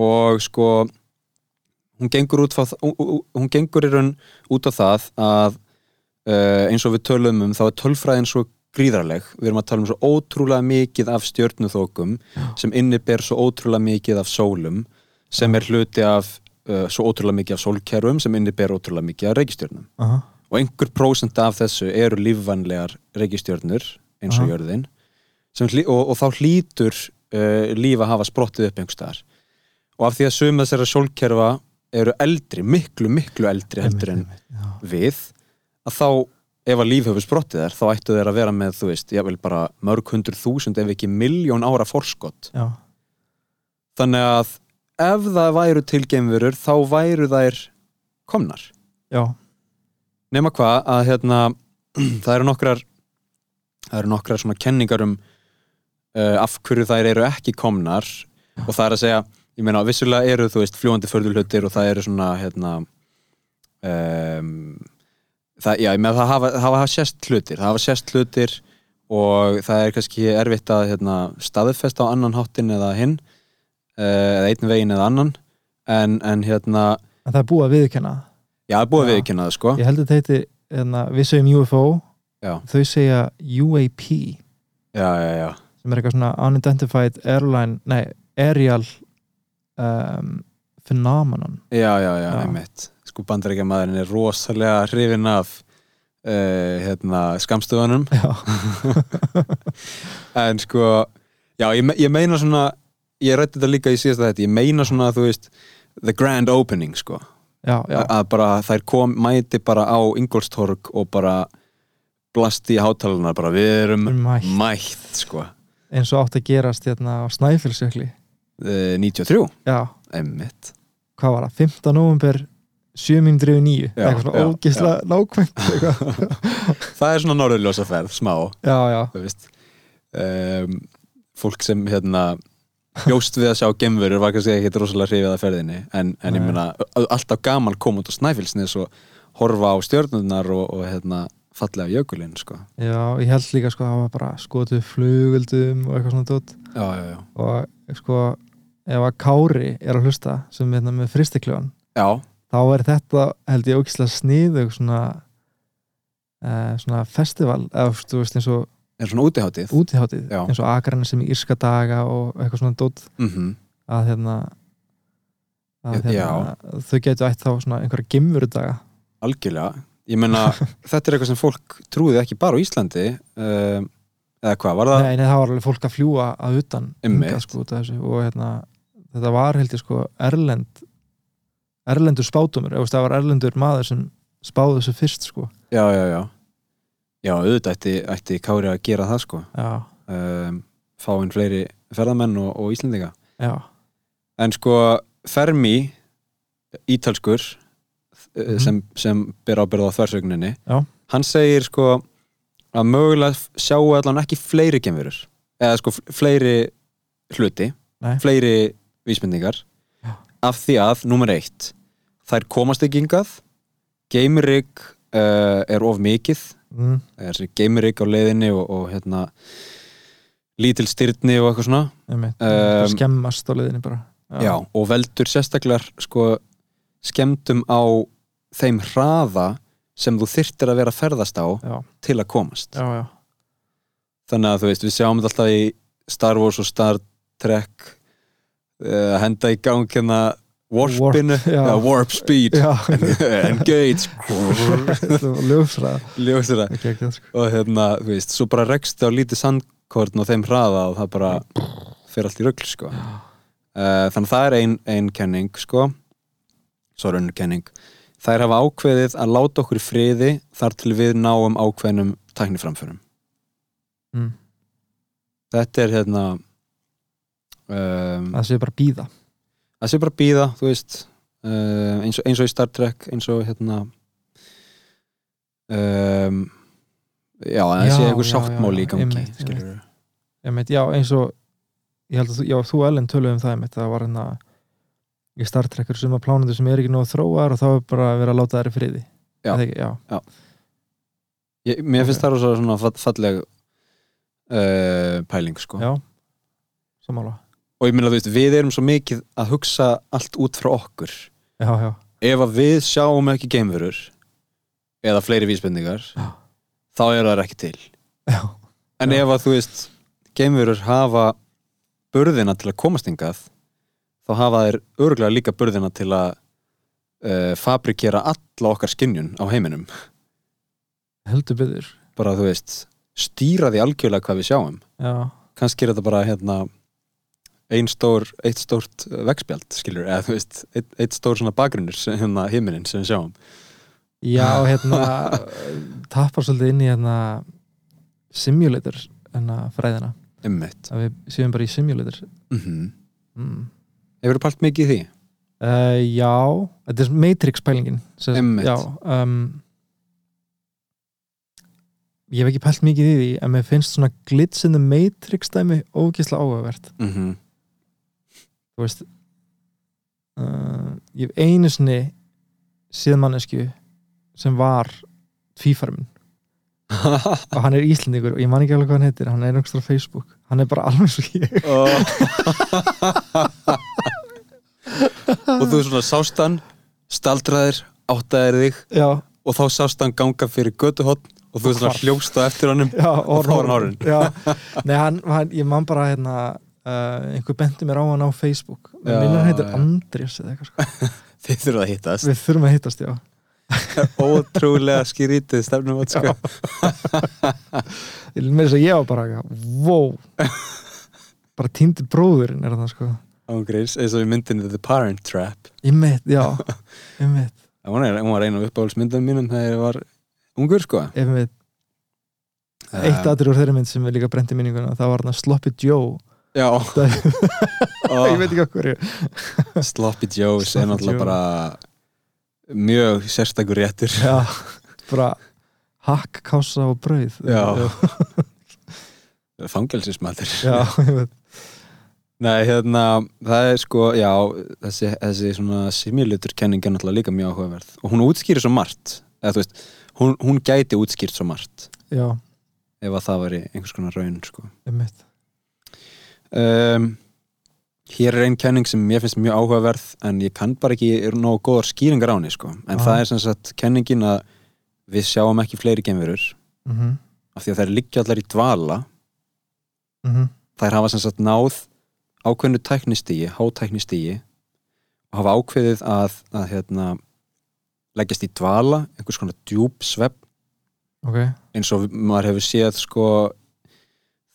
Speaker 1: og sko hún gengur, út, frá- ú- ú- hún gengur í raun út á það að uh, eins og við tölum um þá er tölfræðin svo gríðarleg við erum að tala um svo ótrúlega mikið af stjörnuþókum sem inniber svo ótrúlega mikið af sólum sem er hluti af uh, svo ótrúlega mikið af sólkerfum sem inniber ótrúlega mikið af reikistjörnum
Speaker 2: aha,
Speaker 1: og einhver prósent af þessu eru lífvænlegar reikistjörnur eins og
Speaker 2: Aha.
Speaker 1: jörðin sem, hlý- og, og þá hlýtur uh, líf að hafa sprottið upp einhverstaðar og af því að suma þessara sólkerfa eru eldri, miklu, miklu eldri heldur en
Speaker 2: einmitt, já,
Speaker 1: við að þá, ef að líf hefur sprottið þær þá ættu þeir að vera með, þú veist, ég vil bara mörg hundruð þúsund ef ekki miljón ára forskott
Speaker 2: já,
Speaker 1: þannig að ef það væru tilgeimverur þá væru þær komnar
Speaker 2: já,
Speaker 1: nema hvað að hérna það eru nokkrar það eru nokkrar svona kenningar um uh, af hverju þær eru ekki komnar og það er að segja, ég meina vissulega eru þú veist fljóandi förðulhutir og það eru svona hérna um, það, já, ég meina það hafa, hafa hafa sérst hlutir, það hafa sérst hlutir og það er kannski erfitt að hérna, staðfesta á annan háttin eða hinn eh, eða einn veginn eða annan en, en hérna,
Speaker 2: en það er búið að viðurkenna það.
Speaker 1: já, það er búið að
Speaker 2: Já.
Speaker 1: viðkynna það sko
Speaker 2: ég held að þetta heiti, hérna, við segjum UFO
Speaker 1: Já.
Speaker 2: þau segja UAP sem
Speaker 1: já, já, já,
Speaker 2: er eitthvað svona unidentified airline nei, aerial um, phenomenon
Speaker 1: Já, já, já,
Speaker 2: Já.
Speaker 1: einmitt Sko bandaríkja maðurinn er rosalega hrifin af uh, hérna, skamstöðunum
Speaker 2: já,
Speaker 1: en sko, já, ég, me- ég meina svona ég rætti þetta líka í síðasta þetta ég meina svona, þú veist the grand opening, sko
Speaker 2: já, já,
Speaker 1: að bara þær kom, mæti bara á Ingolstorg og bara blasti í hátalana, bara við erum
Speaker 2: Um mætt
Speaker 1: mætt, sko uh,
Speaker 2: eins og átt að gerast hérna á Snæfellsjökli
Speaker 1: Eh, 93,
Speaker 2: já,
Speaker 1: einmitt
Speaker 2: hvað var það, 15. november 7 mínútur yfir 9
Speaker 1: Já,
Speaker 2: eitthvað svona
Speaker 1: já,
Speaker 2: ógisla nákvæmt eitthvað.
Speaker 1: Það er svona norðurljósaferð, smá
Speaker 2: já, já,
Speaker 1: þú veist um, fólk sem Ehm, hérna bjóst við að sjá gemverur var kannski ekkit rosalega hrifið að ferðinni en, en ég
Speaker 2: Nei.
Speaker 1: meina, ö- alltaf gaman kom út á Snæfellsnes og horfa á stjörnurnar og, og hérna, fallega jökulinn sko.
Speaker 2: Já, ég held líka sko að það var bara skotu flugöldum og eitthvað svona dót
Speaker 1: já, já, já.
Speaker 2: og sko ef að Kári er að hlusta sem er hérna með fristikljóðan
Speaker 1: já,
Speaker 2: þá er þetta held ég ógislega sniðug svona eh, svona festival eða þú veist eins og
Speaker 1: er svona útiháttið
Speaker 2: útiháttið
Speaker 1: Já.
Speaker 2: eins og Akarinn sem í Írska daga og eitthvað svona dót
Speaker 1: mm
Speaker 2: að hérna að
Speaker 1: Já.
Speaker 2: hérna þau getur ætt þá svona einhverja gimvurudaga
Speaker 1: algjörlega ég meina, þetta er eitthvað sem fólk trúði ekki bara á Íslandi um, eða hvað, var það?
Speaker 2: Nei, nei, það var alveg fólk að fljúa að utan
Speaker 1: Einmitt.
Speaker 2: hingað, sko, út af þessu, og hérna, þetta var held ég sko erlend erlendur spátumur, ef þú veist, það var erlendur maður sem spáði þessu fyrst sko
Speaker 1: já, já, já já, auðvitað ætti, ætti Kári að gera það sko
Speaker 2: Já,
Speaker 1: um, fá inn fleiri ferðamenn og, og Íslendinga
Speaker 2: já,
Speaker 1: en sko Fermi ítalskur mm
Speaker 2: Mhm.
Speaker 1: sem, sem ber ábyrð á þversögninni
Speaker 2: Já.
Speaker 1: hann segir sko að mögulega sjáu allan ekki fleiri gemverur eða sko fl- fleiri hluti
Speaker 2: Nei.
Speaker 1: fleiri vísmyndingar
Speaker 2: Já.
Speaker 1: af því að, nummer eitt þær komast ekki yngað geimrygg uh, er of mikið
Speaker 2: mm,
Speaker 1: það er þessi geimrygg á leiðinni og, og hérna lítil styrni og eitthvað svona
Speaker 2: einmitt
Speaker 1: Um,
Speaker 2: um, skemmast á leiðinni bara
Speaker 1: Já, og veldur sérstaklega sko, skemmtum á þeim hraða sem þú þyrtir að vera að ferðast á
Speaker 2: Já,
Speaker 1: til að komast.
Speaker 2: já, já,
Speaker 1: Þannig að þú veist, við sjáum þetta alltaf í Star Wars og Star Trek uh, henda í gang hérna warpinu,
Speaker 2: Warp, já.
Speaker 1: ja, warp speed
Speaker 2: já.
Speaker 1: engage
Speaker 2: Þetta var ljósræða
Speaker 1: ljósir það
Speaker 2: ekki ekki, sko.
Speaker 1: og hérna, þú veist, svo bara rekst á lítið sandkorn og þeim hraða og það bara fer allt í rögl, sko Eh, þannig að það er ein, ein kenning, sko svo er önnur kenning þær hafa ákveðið að láta okkur í friði þar til við náum ákveðnum tækniframförum
Speaker 2: Mm.
Speaker 1: þetta er hérna um,
Speaker 2: Það sé bara býða
Speaker 1: það sé bara að býða, þú veist uh, eins, og, eins og í Star Trek eins og hérna um, já, að það
Speaker 2: Já,
Speaker 1: sé einhver
Speaker 2: já,
Speaker 1: sáttmáli
Speaker 2: já,
Speaker 1: í gangi
Speaker 2: einmitt,
Speaker 1: skilurðu.
Speaker 2: einmitt, já, eins og ég held að þú, já, þú og Ellen töluðum það einmitt, það var hérna í Star Trek eru suma plánundu sem er ekki nóg þróar og þá er bara að vera að láta þær í friði
Speaker 1: Já.
Speaker 2: Er það ekki, já.
Speaker 1: ég, mér finnst
Speaker 2: Ok.
Speaker 1: það rosa svona fall- falleg uh, pæling sko
Speaker 2: já. sammála
Speaker 1: og ég meina þú veist, við erum svo mikið að hugsa allt út frá okkur
Speaker 2: já, já,
Speaker 1: ef að við sjáum ekki geimverur eða fleiri vísbendingar
Speaker 2: Já.
Speaker 1: þá eru þær ekki til
Speaker 2: já,
Speaker 1: en
Speaker 2: Já.
Speaker 1: ef að þú veist, geimverur hafa burðina til að komast hingað þá hafa þær örgulega líka burðina til að uh, fabrikera alla okkar skinjun á heiminum
Speaker 2: heldur byggður
Speaker 1: bara þú veist, stýra því algjörlega hvað við sjáum
Speaker 2: já,
Speaker 1: kannski er þetta bara hérna ein stór, eitt stórt eh, vegspjald skilur, eða þú veist, eitt, eitt stór svona bakgrunnur sem, hérna himinin sem við sjáum
Speaker 2: já hérna tappar svolítið inn í hérna simulator hérna fræðina,
Speaker 1: Einmitt.
Speaker 2: að við séum bara í simulator
Speaker 1: Mm -hmm.
Speaker 2: mm.
Speaker 1: Hefur þú pælt mikið í því?
Speaker 2: Uh, já, þetta er Matrix pælingin sem,
Speaker 1: Einmitt.
Speaker 2: já, um, Ég hef ekki pælt mikið í því en mér finnst svona glitch in the Matrix dæmi ógeðslega áhugavert
Speaker 1: Mm -hmm.
Speaker 2: Þú veist uh, Ég hef einu sinni séð mannesku sem var tvífarmin og hann er íslendingur og ég man ekki alveg hvað hann heitir hann er einhverjum á Facebook hann er bara alveg svo ég
Speaker 1: og þú svona sást hann staldraðir, áttaðir þig
Speaker 2: Já,
Speaker 1: og þá sást hann ganga fyrir götuhotn og þú
Speaker 2: Og
Speaker 1: svona
Speaker 2: hvarf.
Speaker 1: hljósta eftir hannum
Speaker 2: já,
Speaker 1: þá var hann horfinn.
Speaker 2: já. Nei, hann, hann, ég man bara hérna uh, einhver benti mér á hann á Facebook
Speaker 1: Já,
Speaker 2: mér minnir hann heitir
Speaker 1: já.
Speaker 2: Andrés eða eitthvað sko.
Speaker 1: þið þurfa að hittast
Speaker 2: við þurfum að hittast, já
Speaker 1: ótrúlega skýrítið stefnum átt sko
Speaker 2: ég með þess að ég var bara, eitthvað, wow bara týndi bróðurinn er það sko
Speaker 1: ángreins, eins og í myndinni The Parent Trap
Speaker 2: ég mitt, já, ég mitt,
Speaker 1: En hún, er, hún var ein af uppáhaldsmyndum mínum þegar ég var ungur sko
Speaker 2: ég mitt eitt aðri úr þeirri mynd sem við líka brendi minninguna það var hann að Sloppy Joe
Speaker 1: já,
Speaker 2: það, ég
Speaker 1: oh,
Speaker 2: veit ekki okkur
Speaker 1: Sloppy Joes er
Speaker 2: Sloppy
Speaker 1: náttúrulega
Speaker 2: Joe.
Speaker 1: bara mjög sérstakur réttur
Speaker 2: já, bara hakk, kása og brauð
Speaker 1: Já. fangelsismatur
Speaker 2: já, ég veit
Speaker 1: Nei, hérna, það er sko, já, þessi, þessi svona similiturkenning er náttúrulega líka mjög áhugaverð og hún útskýrir svo margt, eða þú veist, hún, hún gæti útskýrt svo margt
Speaker 2: já,
Speaker 1: ef að það væri einhvers konar raun, sko.
Speaker 2: einmitt
Speaker 1: um, Hér er einn kenning sem mér finnst mjög áhugaverð en ég kann bara ekki, er nógu góðar skýringar á henni, sko. En
Speaker 2: Aha.
Speaker 1: það er sem sagt kenningin að við sjáum ekki fleiri geimverur
Speaker 2: mm -hmm.
Speaker 1: af því að þær liggja allar í dvala
Speaker 2: mhm,
Speaker 1: þær hafa sem sagt náð ákveðnu tæknistígi, hátæknistígi og hafa ákveðið að, að hérna, leggjast í dvala einhvers konar djúp svepp
Speaker 2: ok,
Speaker 1: eins og maður hefur séð sko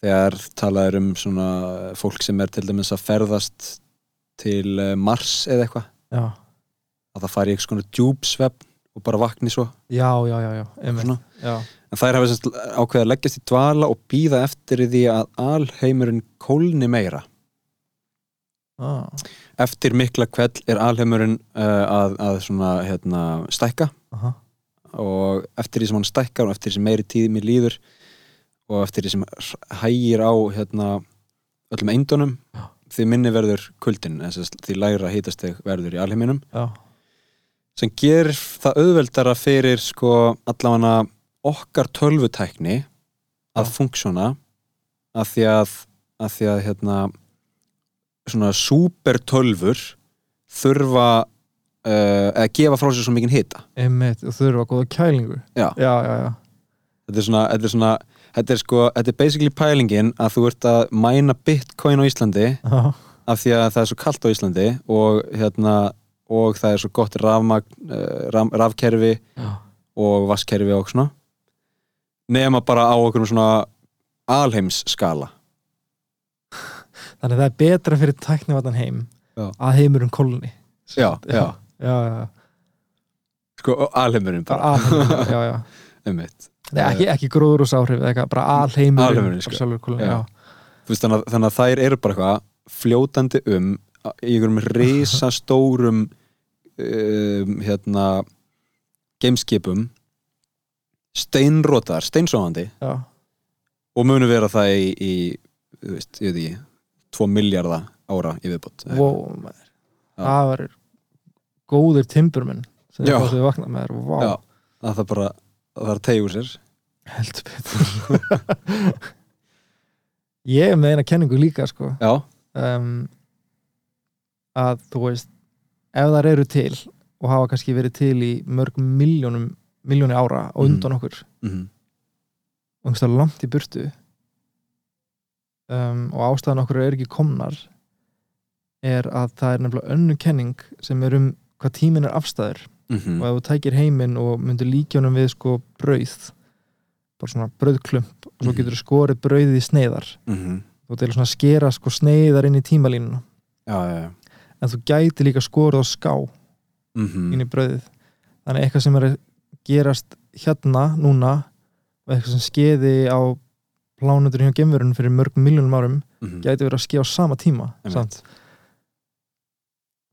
Speaker 1: þegar talaður um svona fólk sem er til dæmis að ferðast til eh, Mars eða eitthvað
Speaker 2: já
Speaker 1: að það fari í einhvers konar djúp svepp og bara vakni svo
Speaker 2: já, já, já, já, einmitt
Speaker 1: Svona.
Speaker 2: já,
Speaker 1: en þær hafa sem sagt ákveðið að leggjast í dvala og býða eftir því að alheimurinn kólni meira
Speaker 2: ah.
Speaker 1: eftir mikla kveld er alheimurinn uh, að, að svona hérna, stækka
Speaker 2: aha,
Speaker 1: og eftir því sem hann stækkar og eftir því sem meiri tími líður og eftir því sem hægir á hérna, öllum eindunum
Speaker 2: Já.
Speaker 1: því minni verður kuldin þess, því lægra hýtasteg verður í alheiminum
Speaker 2: já,
Speaker 1: sem gerir það auðveldara fyrir sko allavega okkar tölvutækni að
Speaker 2: Já.
Speaker 1: funksjóna að því að, að, því að hérna, svona supertölvur þurfa uh, að gefa frá sér svo mikinn hita
Speaker 2: einmitt og þau eru að góða kælingu
Speaker 1: Já.
Speaker 2: já, já, já,
Speaker 1: þetta er svona, þetta er svona Þetta er sko, þetta er basically pælingin að þú ert að mæna bitcoin á Íslandi
Speaker 2: já.
Speaker 1: af því að það er svo kalt á Íslandi og hérna, og það er svo gott rafmagn, uh, raf, rafkerfi
Speaker 2: já.
Speaker 1: og vasskerfi og svona nema bara á okkur svona alheims skala
Speaker 2: þannig að það er betra fyrir tæknivatnan heim
Speaker 1: Já.
Speaker 2: að heimurinn kólni
Speaker 1: Já, já.
Speaker 2: já, já,
Speaker 1: sko alheimurinn
Speaker 2: bara
Speaker 1: bara,
Speaker 2: alheimurinn já, já.
Speaker 1: einmitt
Speaker 2: Nei, ekki, ekki gróður og sáhrif eitthvað, bara alheimurinn
Speaker 1: Alheimurinn, sko.
Speaker 2: af sjálfur kólni
Speaker 1: Já.
Speaker 2: já.
Speaker 1: Þú veist, þannig, að- þannig að þær eru bara eitthvað fljótandi um í einhverjum risastórum um, hérna gameskipum steinrótaðar, steinsóðandi
Speaker 2: Já.
Speaker 1: og munu vera það í, í þú veist, ég veit ekki 2 miljardar ára í viðbót
Speaker 2: Wow, maður.
Speaker 1: Já.
Speaker 2: það var góðir timburmenn sem
Speaker 1: Já.
Speaker 2: það þau vakna með þér wow.
Speaker 1: Já. að það bara, að það er tegur sér
Speaker 2: heldur betur ég er með eina kenningu líka sko.
Speaker 1: Já,
Speaker 2: um, að þú veist ef þar eru til og hafa kannski verið til í mörg miljónum miljóni ára og undan okkur
Speaker 1: mhm
Speaker 2: og einhverstað langt í burtu um, og ástæðan okkur er ekki komnar er að það er nefnilega önnu kenning sem er um hvað tíminn er afstæður
Speaker 1: Mhm. Mm.
Speaker 2: og ef þú tækir heiminn og myndir líkjónum við sko brauð bara svona brauðklump og svo
Speaker 1: Mhm.
Speaker 2: getur þú skorið brauðið í sneiðar
Speaker 1: Mhm.
Speaker 2: þú deilur svona að skera sko sneiðar inn í tímalínuna
Speaker 1: Já, já, já.
Speaker 2: en þú gæti líka skorið á ská inn
Speaker 1: Mhm.
Speaker 2: í brauðið þannig eitthvað sem er að gerast hérna núna og eitthvað sem skeiði á plánutur hjá gemverunum fyrir mörg miljónum árum
Speaker 1: Mhm.
Speaker 2: gæti verið að skeið á sama tíma
Speaker 1: Einmitt.
Speaker 2: samt.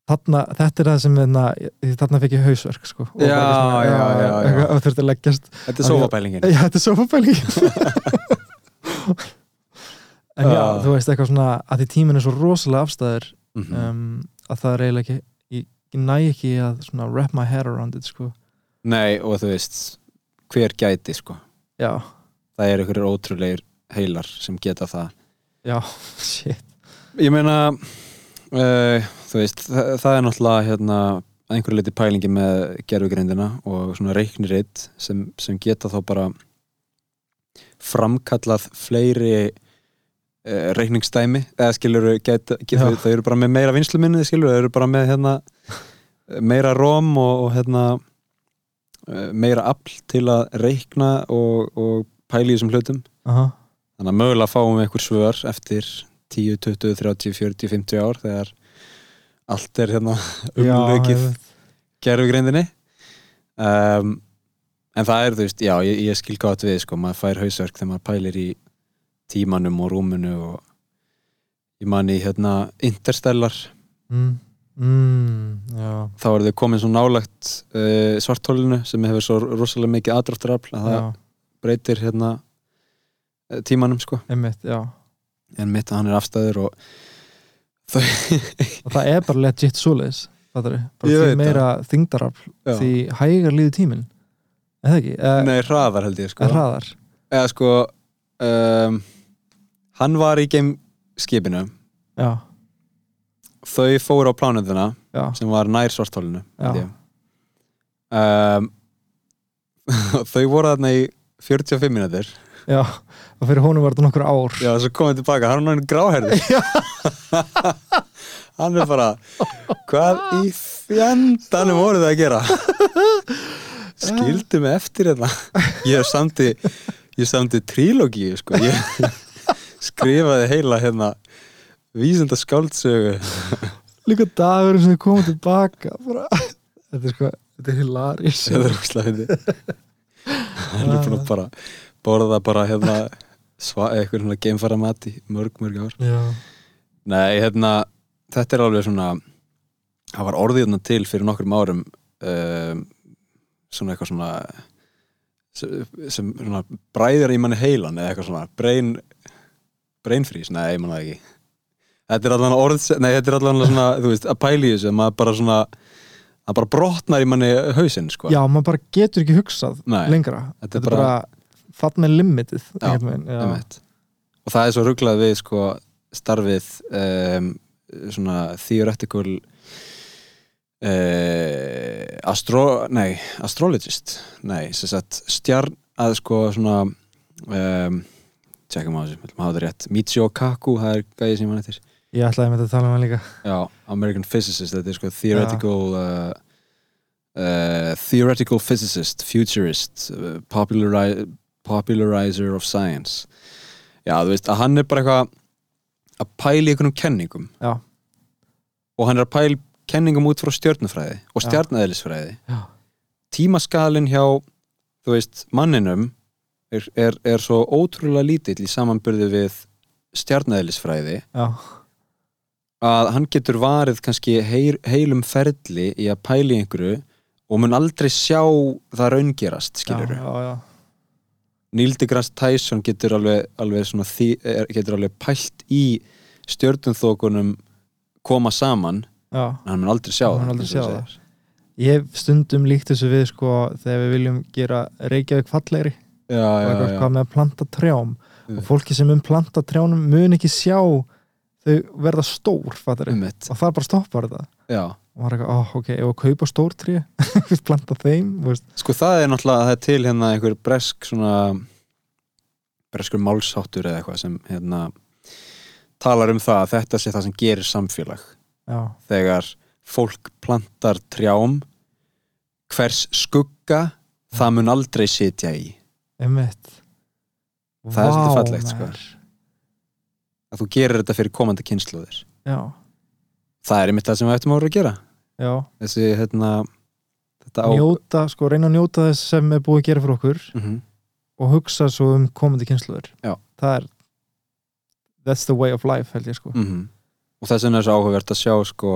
Speaker 2: þarna, þetta er það sem þarna, þarna fekk ég hausverk sko, Og
Speaker 1: Já,
Speaker 2: bara
Speaker 1: já,
Speaker 2: eitthvað
Speaker 1: já, já.
Speaker 2: eitthvað og þurfti að leggjast
Speaker 1: Þetta er sofabælingin
Speaker 2: já, þetta er sofabæli en já,
Speaker 1: Ah.
Speaker 2: þú veist eitthvað svona að því tíminn er svo rosalega afstæður
Speaker 1: Mhm.
Speaker 2: um, að það er eiginlega ekki ég, ég næ ekki að svona wrap my head around it sko.
Speaker 1: Nei, og þú veist hver gæti, sko
Speaker 2: já,
Speaker 1: það er einhverjir ótrúleir heilar sem geta það
Speaker 2: já, shit
Speaker 1: Ég meina uh, þú veist, það, það er náttúrulega hérna, að einhverju leiti pælingi með gerfugrindina og svona reikniritt sem, sem geta þá bara framkallað fleiri uh, reikningsdæmi eða skilur geta, geta,
Speaker 2: Já.
Speaker 1: þau eru bara með meira vinsluminni skilur, þau eru bara með hérna, meira róm og, og hérna eh, meira afl til að reikna og, og pæla í þessum hlutum
Speaker 2: Aha.
Speaker 1: þannig að mögulega fáum við einhver svör eftir 10, 20, 30, 40, 50 ár þegar allt er hérna umlökið
Speaker 2: Já, einmitt.
Speaker 1: gerfugrindinni um, en það er þú veist, já, ég, ég skil gátt við sko, maður fær hausverk þegar maður pælir í tímanum og rúminu og ég man í hérna Interstellar,
Speaker 2: mm, mm, já,
Speaker 1: þá eru þau komin svo nálægt uh, svartólinu sem hefur svo rosalega mikið aðdráttarafl að það
Speaker 2: já,
Speaker 1: breytir hérna eh, tímanum sko
Speaker 2: einmitt, já
Speaker 1: en mitt að hann er afstæður og
Speaker 2: og það er bara legit svoleiðis fattari, bara
Speaker 1: Ég
Speaker 2: því
Speaker 1: veit
Speaker 2: meira þingdarafl
Speaker 1: Já.
Speaker 2: því hægar líður tíminn eða ekki, eða,
Speaker 1: Nei, hraðar held ég sko
Speaker 2: eða Eh, hraðar
Speaker 1: Eða sko um, Hann var í geimskipinu
Speaker 2: já,
Speaker 1: Þau fóru á plánöðuna
Speaker 2: já,
Speaker 1: sem var nær svartólinu
Speaker 2: Já.
Speaker 1: um, Þau voru þarna í 45 minútur
Speaker 2: já og fyrir honum var þetta nokkur ár
Speaker 1: Já, svo komið tilbaka, hann er hann gráherði Hann er bara Hvað í fjandanum voruð það að gera? Skildu mig eftir þetta Ég hef samti Ég samti trílógíu sko. Ég skrifaði heila hérna Vísinda skáldsögu
Speaker 2: líka dagur sem þau komum tilbaka bara, þetta er sko, þetta er hilarís
Speaker 1: Það er óslega fyndi Hann er búin að bara Borða bara hérna sva, Eitthvað hérna geimfara mati Mörg, mörg ár
Speaker 2: já,
Speaker 1: Nei, hérna, þetta er alveg svona það var orðið hérna til fyrir nokkrum árum um, svona eitthvað svona sem sem svona bræðir í manni heilan eða eitthvað svona brain brain freeze, nei, ég manna það ekki Þetta er allan orð, nei, þetta er allan svona, þú veist, að pæla í þessu, maður bara svona að bara brotnar í manni hausinn, sko
Speaker 2: já, maður bara getur ekki hugsað
Speaker 1: Nei.
Speaker 2: lengra,
Speaker 1: Þetta
Speaker 2: þetta
Speaker 1: er
Speaker 2: er bara, bara fatt með
Speaker 1: Já,
Speaker 2: limitið einhvern veginn, já.
Speaker 1: Einmitt. og það er svo rugglað við sko, starfið um, svona theoretical uh, astro, nei, astrologist nei, sem sagt stjarn að sko svona um, tjekkum á þessu, við ætlum að hafa þetta rétt Michio Kaku, það er gæði sem hann heitir
Speaker 2: ég ætlaði með þetta að tala um hann líka
Speaker 1: já, American physicist, þetta er sko theoretical uh, uh, theoretical physicist futurist uh, populari popularizer of science já, þú veist, að hann er bara eitthvað að pæla í einhvernum kenningum
Speaker 2: Já.
Speaker 1: og hann er að pæla kenningum út frá stjörnufræði og
Speaker 2: Já.
Speaker 1: stjarnæðlisfræði
Speaker 2: Já.
Speaker 1: tímaskalin hjá þú veist, manninum er, er, er svo ótrúlega lítill í samanburði við stjarnæðlisfræði
Speaker 2: já,
Speaker 1: að hann getur varið kannski heir, heilum ferli í að pæla í einhverju og mun aldrei sjá það raungerast skilur
Speaker 2: já, já, já.
Speaker 1: Neil deGrasse Tyson getur alveg, alveg svona, því, er- getur alveg pælt í stjörnunþókunum koma saman
Speaker 2: já.
Speaker 1: en hann mun aldrei sjá það
Speaker 2: Hann mun aldrei
Speaker 1: eins og
Speaker 2: sjá
Speaker 1: þú
Speaker 2: það.
Speaker 1: segir.
Speaker 2: Ég hef stundum líkt þessu við sko þegar við viljum gera Reykjavík fallegri
Speaker 1: já,
Speaker 2: og
Speaker 1: já,
Speaker 2: eitthvað
Speaker 1: já,
Speaker 2: hvað með að planta trjám
Speaker 1: Mm.
Speaker 2: og fólki sem mun planta trjánum mun ekki sjá þau verða stór fattari
Speaker 1: um mitt
Speaker 2: og það bara stoppar þetta
Speaker 1: já.
Speaker 2: og maður er eitthvað, oh, ok, ef að kaupa stór tré planta þeim, þú veist
Speaker 1: sko það er náttúrulega það er til hérna einhver bresk svona breskur málsáttur eða eitthvað sem hérna talar um það að þetta sé það sem gerir samfélag
Speaker 2: já,
Speaker 1: þegar fólk plantar trjám hvers skugga það mun aldrei sitja í
Speaker 2: einmitt
Speaker 1: Það er svolítið
Speaker 2: Vá,
Speaker 1: fallegt, sko.
Speaker 2: maður.
Speaker 1: að þú gerir þetta fyrir komandi kynsluðir
Speaker 2: já,
Speaker 1: það er einmitt það sem við ættum að voru að gera
Speaker 2: já,
Speaker 1: þessi hérna þetta á
Speaker 2: njóta, sko reyna að njóta þess sem er búið að gera fyrir okkur
Speaker 1: Mhm.
Speaker 2: og hugsa svo um komandi kynsluður
Speaker 1: Já.
Speaker 2: það er that's the way of life held ég sko
Speaker 1: Mhm. og þess vegna er svo áhugavert að sjá sko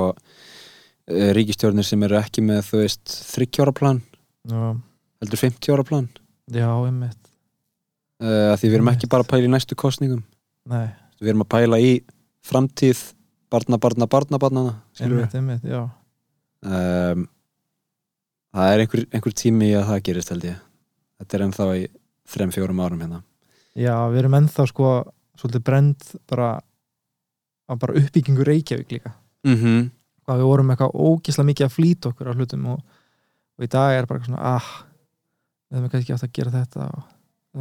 Speaker 1: eh, ríkistjórnir sem eru ekki með þú veist 30 ára plan,
Speaker 2: já,
Speaker 1: heldur 50 ára plan
Speaker 2: já einmitt
Speaker 1: uh, því við erum ekki
Speaker 2: Einmitt.
Speaker 1: bara að pæla í næstu kostningum
Speaker 2: nei,
Speaker 1: við erum að pæla í framtíð barna, barna, barna, barna skilur við
Speaker 2: einmitt, einmitt, já
Speaker 1: um, það er einhver, einhver tími í að það gerist held ég þetta er ennþá í þrem, fjórum árum hérna
Speaker 2: já, við erum ennþá sko svolítið brend bara að bara uppbyggingu Reykjavík líka
Speaker 1: mm -hmm.
Speaker 2: hvað við vorum eitthvað ógislega mikið að flýta okkur á hlutum og, og í dag er bara eitthvað svona ah, við hefum kannski átt að gera þetta og við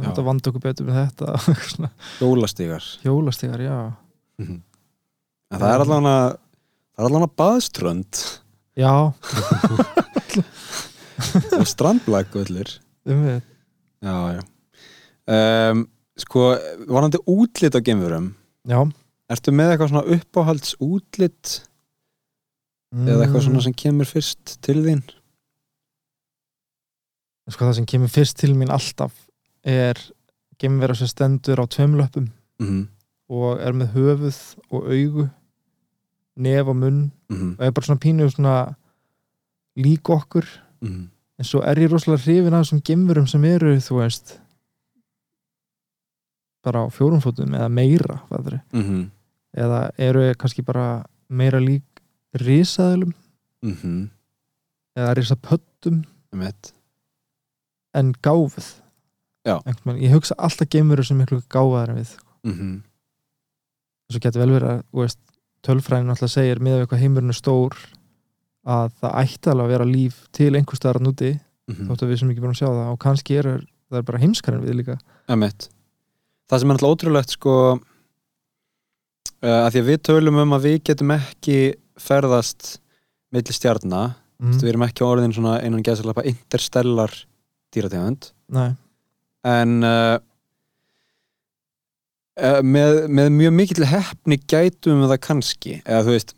Speaker 1: Já.
Speaker 2: hefum átt að vanda okkur betur með þetta og eitthvað svona
Speaker 1: Hjólastígar
Speaker 2: hjólastigar, já
Speaker 1: Mhm. en það er allan að það er allan að baðströnd
Speaker 2: já,
Speaker 1: og strandblæk öllir
Speaker 2: einmitt,
Speaker 1: já, já um, sko, varandi útlit á geimverum
Speaker 2: já
Speaker 1: ertu með eitthvað svona uppáhalds útlit eða eitthvað
Speaker 2: Mm.
Speaker 1: svona sem kemur fyrst til þín
Speaker 2: sko það sem kemur fyrst til mín alltaf er geimvera sem stendur á tveimlöpum
Speaker 1: mm -hmm.
Speaker 2: og er með höfuð og augu nef og munn
Speaker 1: Mm
Speaker 2: og er bara svona pínu svona lík okkur
Speaker 1: -hmm.
Speaker 2: en svo er ég rosalega hrifin af þessum geimverum sem eru þú veist bara á fjórumfótum eða meira fæðri.
Speaker 1: Mm -hmm.
Speaker 2: eða eru kannski bara meira lík risaðlum
Speaker 1: mm -hmm.
Speaker 2: eða risapöttum en gáfuð
Speaker 1: Já.
Speaker 2: Einhvern veginn, ég hugsa alltaf geimurur sem miklu gáfaðar en við
Speaker 1: Mhm.
Speaker 2: svo getur vel verið að þú veist, tölfræðin alltaf segir miðað við eitthvað heimurinn er stór að það ætti alveg að vera líf til einhver staðar núti mm. þótt að við sem ekki búin að sjá það og kannski er það er bara heimskarinn við líka
Speaker 1: Emmett. Það sem er alltaf ótrúlegt sko uh, að því að við tölum um að við getum ekki ferðast milli stjarna
Speaker 2: Mm. Mhm.
Speaker 1: við erum ekki orðin svona einan gæðsalapa interstellar dýrategund
Speaker 2: Nei,
Speaker 1: en uh, uh, með, með mjög mikill hefni gætum við það kannski eða þú veist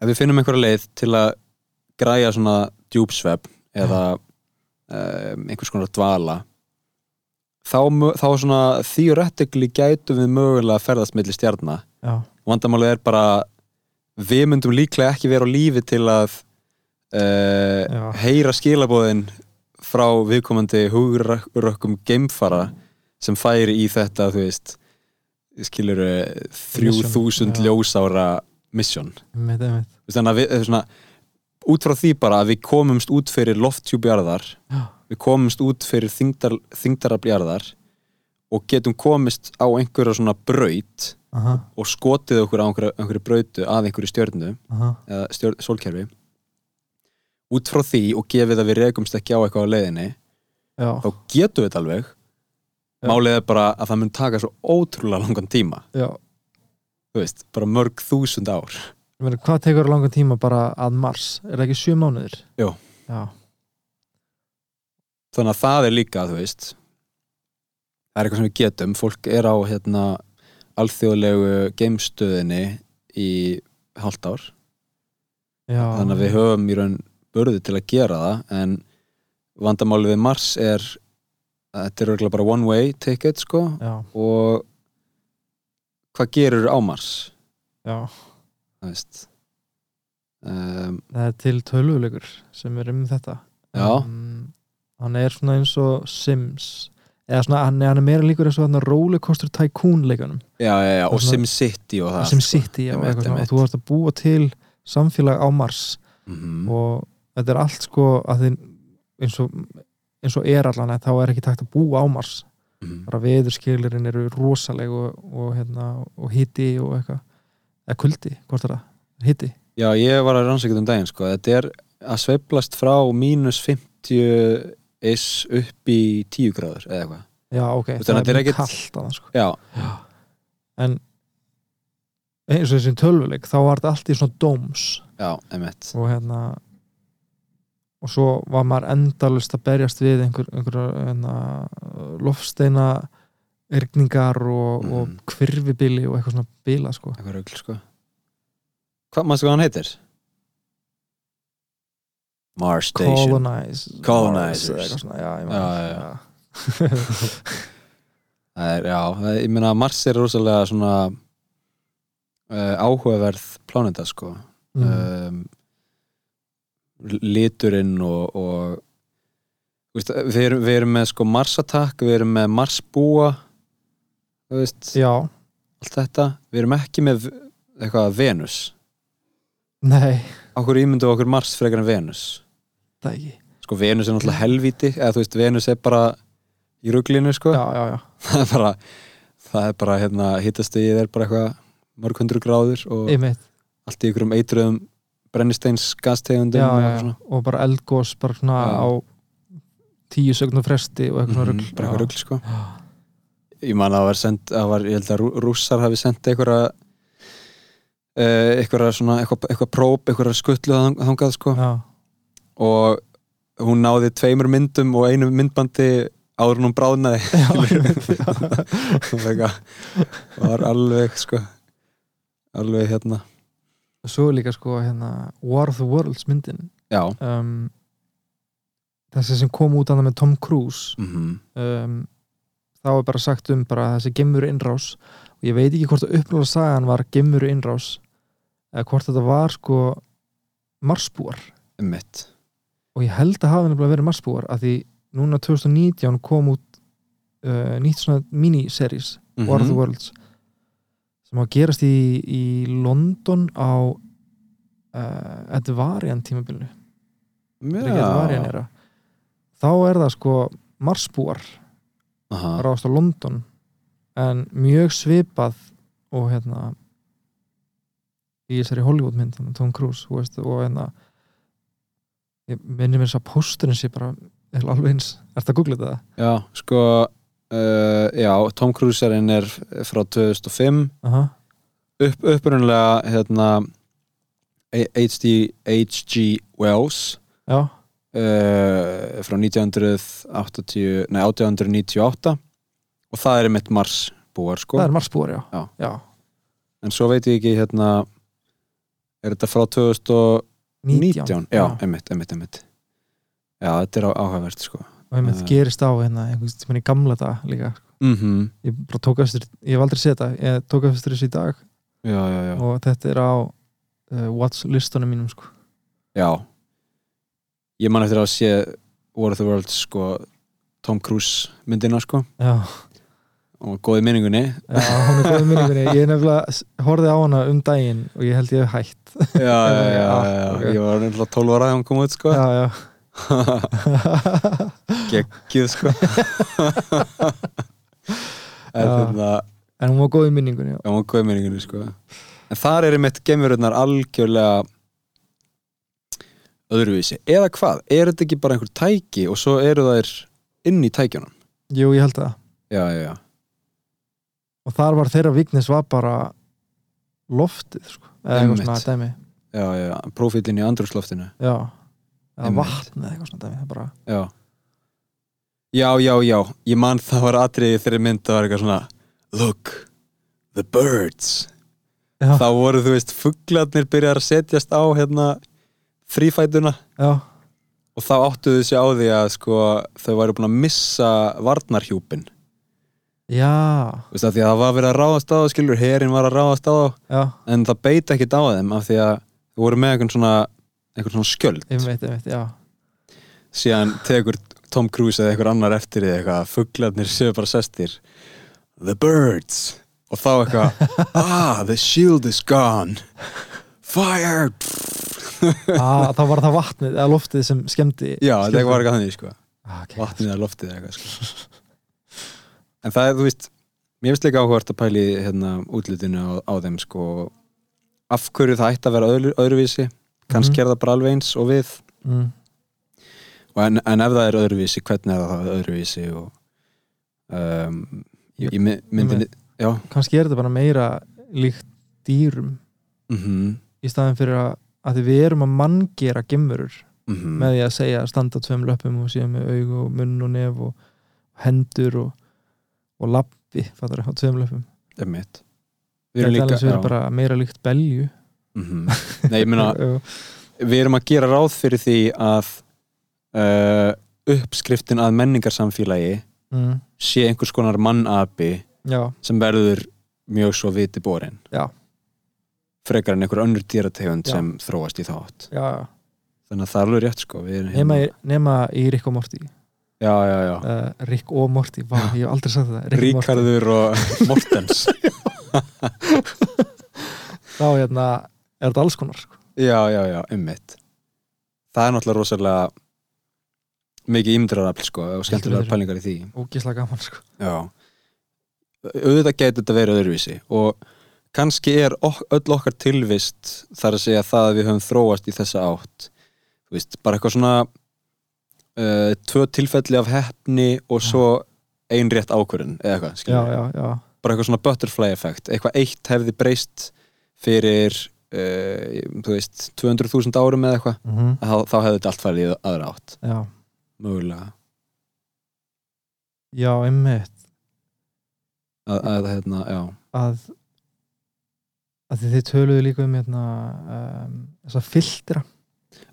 Speaker 1: ef við finnum einhverja leið til að græja svona djúpsvefn eða um, einhvers konar dvala þá, mö- þá svona theoretically gætum við mögulega að ferðast milli stjarna
Speaker 2: já,
Speaker 1: vandamálið er bara við myndum líklega ekki vera á lífi til að uh,
Speaker 2: já,
Speaker 1: heyra skilabóðin frá viðkomandi hugrökkum geimfara sem færi í þetta, þú veist skilur
Speaker 2: Mission,
Speaker 1: 3000
Speaker 2: já.
Speaker 1: ljósára mission
Speaker 2: með þeim veit
Speaker 1: Þú veist, þannig að við, eh, svona, út frá því bara að við komumst út fyrir loftjúbjarðar
Speaker 2: Já.
Speaker 1: við komumst út fyrir þingdar, þingdarabjarðar og getum komist á einhverja svona braut
Speaker 2: Aha,
Speaker 1: og skotið okkur á einhverju, einhverju brautu að einhverju stjörnu
Speaker 2: aha,
Speaker 1: eða stjórn, sólkerfi út frá því og gefið að við rekumst ekki á eitthvað á leiðinni
Speaker 2: já,
Speaker 1: þá getum við þetta alveg
Speaker 2: Já.
Speaker 1: málið er bara að það mun taka svo ótrúlega langan tíma
Speaker 2: já
Speaker 1: þú veist, bara mörg þúsund ár
Speaker 2: Ég meina, hvað tekur langan tíma bara að Mars? Er það ekki sjö mánuðir?
Speaker 1: Jú.
Speaker 2: Já,
Speaker 1: þannig að það er líka, þú veist það er eitthvað sem við getum fólk er á hérna alþjóðlegu geimstöðinni í hálft ár
Speaker 2: já
Speaker 1: þannig að við höfum í raun börðu til að gera það en vandamálið við Mars er að þetta er örugglega bara one way ticket sko
Speaker 2: Já,
Speaker 1: og hvað gerur á Mars
Speaker 2: já,
Speaker 1: það veist um,
Speaker 2: það er til tölvuleikur sem er um þetta
Speaker 1: Já.
Speaker 2: um, Hann er svona eins og Sims eða svona, hann, hann er meira líkur eins og hann rollercoaster tycoon leikunum
Speaker 1: já, já, já, og
Speaker 2: Þarna-
Speaker 1: SimCity og það sko.
Speaker 2: sem sitt í
Speaker 1: ég
Speaker 2: og
Speaker 1: veit,
Speaker 2: eitthvað
Speaker 1: ég
Speaker 2: svona,
Speaker 1: veit.
Speaker 2: og þú ert að búa til samfélag á Mars
Speaker 1: mm
Speaker 2: og þetta er allt sko að þið eins og, eins og er allan að þá er ekki takt að búa á Mars
Speaker 1: -hmm.
Speaker 2: bara veðurskilirinn eru rosaleg og, og, hérna, og hiti og eitthvað eða kuldi, hvort er það? Hiti?
Speaker 1: já, ég var að rannsækja um daginn sko þetta er að sveiflast frá mínus 50 is upp í 10 gráður eða eitthvað
Speaker 2: Já, ok,
Speaker 1: veist, þannig að þetta er
Speaker 2: mjög
Speaker 1: ekkit-
Speaker 2: kalt annars, sko.
Speaker 1: já,
Speaker 2: en eins og þessi tölvuleik þá var þetta allt í svona dóms
Speaker 1: já, emitt
Speaker 2: og hérna og svo var maður endalust að berjast við einhver, einhver hérna, lofsteina ergningar og,
Speaker 1: Mhm.
Speaker 2: og kvirfibili og eitthvað svona bila sko
Speaker 1: eitthvað rögl sko hvað, maður hvað hann heitir? Mars Station
Speaker 2: colonize
Speaker 1: Colonizers.
Speaker 2: eða eitthvað svona, já, ég man
Speaker 1: Já,
Speaker 2: ekki,
Speaker 1: já, já. Það er, já, það- ég meina Mars er rosalega svona uh, áhugaverð plánenda sko
Speaker 2: Mm.
Speaker 1: um, liturinn og, og þú veist, við, erum, við erum með sko Marsattack, við erum með Marsbúa þú veist,
Speaker 2: já,
Speaker 1: allt þetta við erum ekki með eitthvað Venus
Speaker 2: nei
Speaker 1: okkur ímyndu okkur Mars frekar en Venus
Speaker 2: það ekki
Speaker 1: sko Venus er náttúrulega helvíti eða þú veist, Venus er bara í ruglinu sko
Speaker 2: já, já, já,
Speaker 1: það er bara það er bara, hérna, hittastegið er bara eitthvað mörg hundru gráður og
Speaker 2: einmitt
Speaker 1: allt í ykkur um eitruðum brennisteins gastegundum
Speaker 2: já, já, já. og bara eldgós bara svona
Speaker 1: Já.
Speaker 2: á tíu sekundum fresti og eitthvað svona
Speaker 1: Mhm,
Speaker 2: rugl
Speaker 1: bara eitthvað rugl sko
Speaker 2: Já.
Speaker 1: ég man að það var send, að var, ég held að Rú- rússar hafi sendt einhverja uh, einhverja svona eitthvað, eitthvað próp, einhverja skuttlu þang- þangað sko
Speaker 2: já,
Speaker 1: og hún náði tveimur myndum og einu myndbandi áður en hún bráðnaði
Speaker 2: já, einmitt, já.
Speaker 1: Hún var eitthvað- var alveg sko alveg hérna
Speaker 2: svo er líka sko hérna War of the Worlds myndin
Speaker 1: já,
Speaker 2: um, þessi sem kom út annað með Tom Cruise
Speaker 1: mm
Speaker 2: um, þá er bara sagt um bara þessi gemmuru innrás og ég veit ekki hvort að uppnála sagan var gemmuru innrás eða hvort þetta var sko marsbúar
Speaker 1: mitt
Speaker 2: og ég held að hafa nefnilega verið marsbúar að því núna 2019 eh,
Speaker 1: Mhm.
Speaker 2: kom út uh, nýtt svona miniseries War of the Worlds sem á að gerast í, í London á uh, Edvarian tímabilinu Edvarian
Speaker 1: Já.
Speaker 2: era þá er það sko marsbúar
Speaker 1: Aha.
Speaker 2: ráðast á London en mjög svipað og hérna í þessari Hollywood mynd hérna, Tom Cruise þú veist, og hérna ég minni mér þess að pósturinn sé bara er alveg eins, ertu að googla þetta?
Speaker 1: já, sko uh, já, Tom Cruise-erinn er frá 2005
Speaker 2: Aha,
Speaker 1: upp, upprunlega hérna A- H.D. H.G. Wells
Speaker 2: já,
Speaker 1: uh, frá 1980, nei, 1898 og það er mitt Mars búar sko,
Speaker 2: það er marsbúar, já
Speaker 1: Já.
Speaker 2: já,
Speaker 1: en svo veit ég ekki hérna er þetta frá 2019?
Speaker 2: 19,
Speaker 1: Já, einmitt, einmitt, einmitt Já, þetta er á- áhugavert sko
Speaker 2: og einmitt
Speaker 1: Eh.
Speaker 2: gerist á hérna einhvers tímann í gamla dag líka
Speaker 1: mm
Speaker 2: ég bara tók eftir, ég hef aldrei séð þetta ég tók eftir þessu í dag
Speaker 1: Já, já, já
Speaker 2: og þetta er á uh, watch listunum mínum sko
Speaker 1: Já Ég man eftir að sé War of the Worlds sko Tom Cruise myndina sko
Speaker 2: já
Speaker 1: og góði minningunni
Speaker 2: Já, hún er góð í minningunni. Ég nefnilega s- horfði á hana um daginn og ég held ég hef hætt.
Speaker 1: já, já, já, já,
Speaker 2: Ah, ok.
Speaker 1: ég var nefnilega 12 ára þegar hún kom út sko
Speaker 2: Já, já.
Speaker 1: geggið sko en
Speaker 2: Já.
Speaker 1: þetta
Speaker 2: en hún var góð í minningunni. já.
Speaker 1: já, hún góði minningunni sko en þar eru mitt gemururnar algjörlega öðruvísi eða hvað, er þetta ekki bara einhver tæki og svo eru þær inn í tækjunum
Speaker 2: Jú, ég held það.
Speaker 1: já, já, já,
Speaker 2: Og þar var þeirra vignis var bara loftið, sko. Eða eitthvað svona
Speaker 1: Einmitt.
Speaker 2: dæmi.
Speaker 1: já, já, já. profílinn í andrúsloftinu
Speaker 2: Já. Eða
Speaker 1: Einmitt.
Speaker 2: vatn eða eitthvað svona dæmi. Það er bara...
Speaker 1: já já, já, já, ég man það var atriði þeirri mynd það var eitthvað svona look, the birds
Speaker 2: Já,
Speaker 1: þá voru þú veist fugglarnir byrjar að setjast á hérna þrýfætuna
Speaker 2: já,
Speaker 1: og þá áttuðu sig á því að sko þau væru búin að missa varnarhjúpin þú
Speaker 2: já,
Speaker 1: veist af því að það var verið að ráðast á það skilur herin var að ráðast á það
Speaker 2: já.
Speaker 1: en það beita ekkit á þeim af því að þau voru með einhvern svona einhvern svona skjöld
Speaker 2: Einmitt, einmitt, já.
Speaker 1: síðan tekur Tom Cruise eða einhver annar eftir því eitthvað að fugglarnir séu bara sestir The birds og þá eitthvað Ah, the shield is gone Fire
Speaker 2: Á, Ah, þá var það vatnið, eða loftið sem skemmdi.
Speaker 1: Já, þetta var eitthvað þannig sko
Speaker 2: Ah, ok.
Speaker 1: vatnið að loftið eða eitthvað sko. en það er, þú veist mér finnst líka áhugart að pæli hérna, útlutinu á, á þeim sko af hverju það ætti að vera öðru, öðruvísi kannski
Speaker 2: Mhm.
Speaker 1: er það bara alveg eins og við
Speaker 2: Mm.
Speaker 1: og en, en ef það er öðruvísi, hvernig er það öðruvísi og um, í, í my- myndinni já,
Speaker 2: Kannski er þetta bara meira líkt dýrum
Speaker 1: mhm,
Speaker 2: í staðin fyrir að, að því við erum að manngera gemurur
Speaker 1: mhm
Speaker 2: með því að segja að standa á tveim löpum og síðan með aug og munn og nef og hendur og, og lappi fattar, á tveim löpum
Speaker 1: einmitt. við
Speaker 2: þetta
Speaker 1: erum
Speaker 2: er alveg
Speaker 1: líka
Speaker 2: sem
Speaker 1: já,
Speaker 2: er bara meira líkt belju
Speaker 1: mhm. nei, ég meina,
Speaker 2: Já,
Speaker 1: við erum að gera ráð fyrir því að uh, uppskriftin að menningarsamfélagi
Speaker 2: mm,
Speaker 1: sé einhvers konar mannabi
Speaker 2: já,
Speaker 1: sem verður mjög svo viti borin
Speaker 2: Já.
Speaker 1: frekar en einhver önnur dýrategund
Speaker 2: Já.
Speaker 1: sem þróast í þátt
Speaker 2: já, já.
Speaker 1: þannig að það er alveg rétt sko við erum
Speaker 2: nema,
Speaker 1: hérna-
Speaker 2: nema í Rick og Morty
Speaker 1: já, já, já.
Speaker 2: uh, Rick og Morty, Vá, ég hef aldrei sagt það Rick og Morty.
Speaker 1: Ríkarður og Mortens
Speaker 2: þá hérna, er þetta alls konar sko.
Speaker 1: já, já, já, ummitt það er náttúrulega rosalega mikið ímyndrarafl sko og skemmtilegar
Speaker 2: betur.
Speaker 1: pælingar í því
Speaker 2: ógislega gaman sko.
Speaker 1: já auðvitað getur þetta verið öðruvísi og kannski er ok öll okkar tilvist þar að segja það að við höfum þróast í þessa átt þú veist, bara eitthvað svona uh, tvö tilfelli af heppni og svo ein rétt ákvörðin eða eitthvað,
Speaker 2: já,
Speaker 1: skiljum
Speaker 2: já, já,
Speaker 1: bara eitthvað svona butterfly effect eitthvað eitt hefði breyst fyrir uh, þú veist 200.000 árum eða eitthvað
Speaker 2: mm
Speaker 1: þá, þá hefði þetta allt farið í aðra átt
Speaker 2: já.
Speaker 1: mögulega
Speaker 2: já, einmitt
Speaker 1: að, að hérna, já
Speaker 2: að að þið töluðu líka um hérna, um, þessa filtra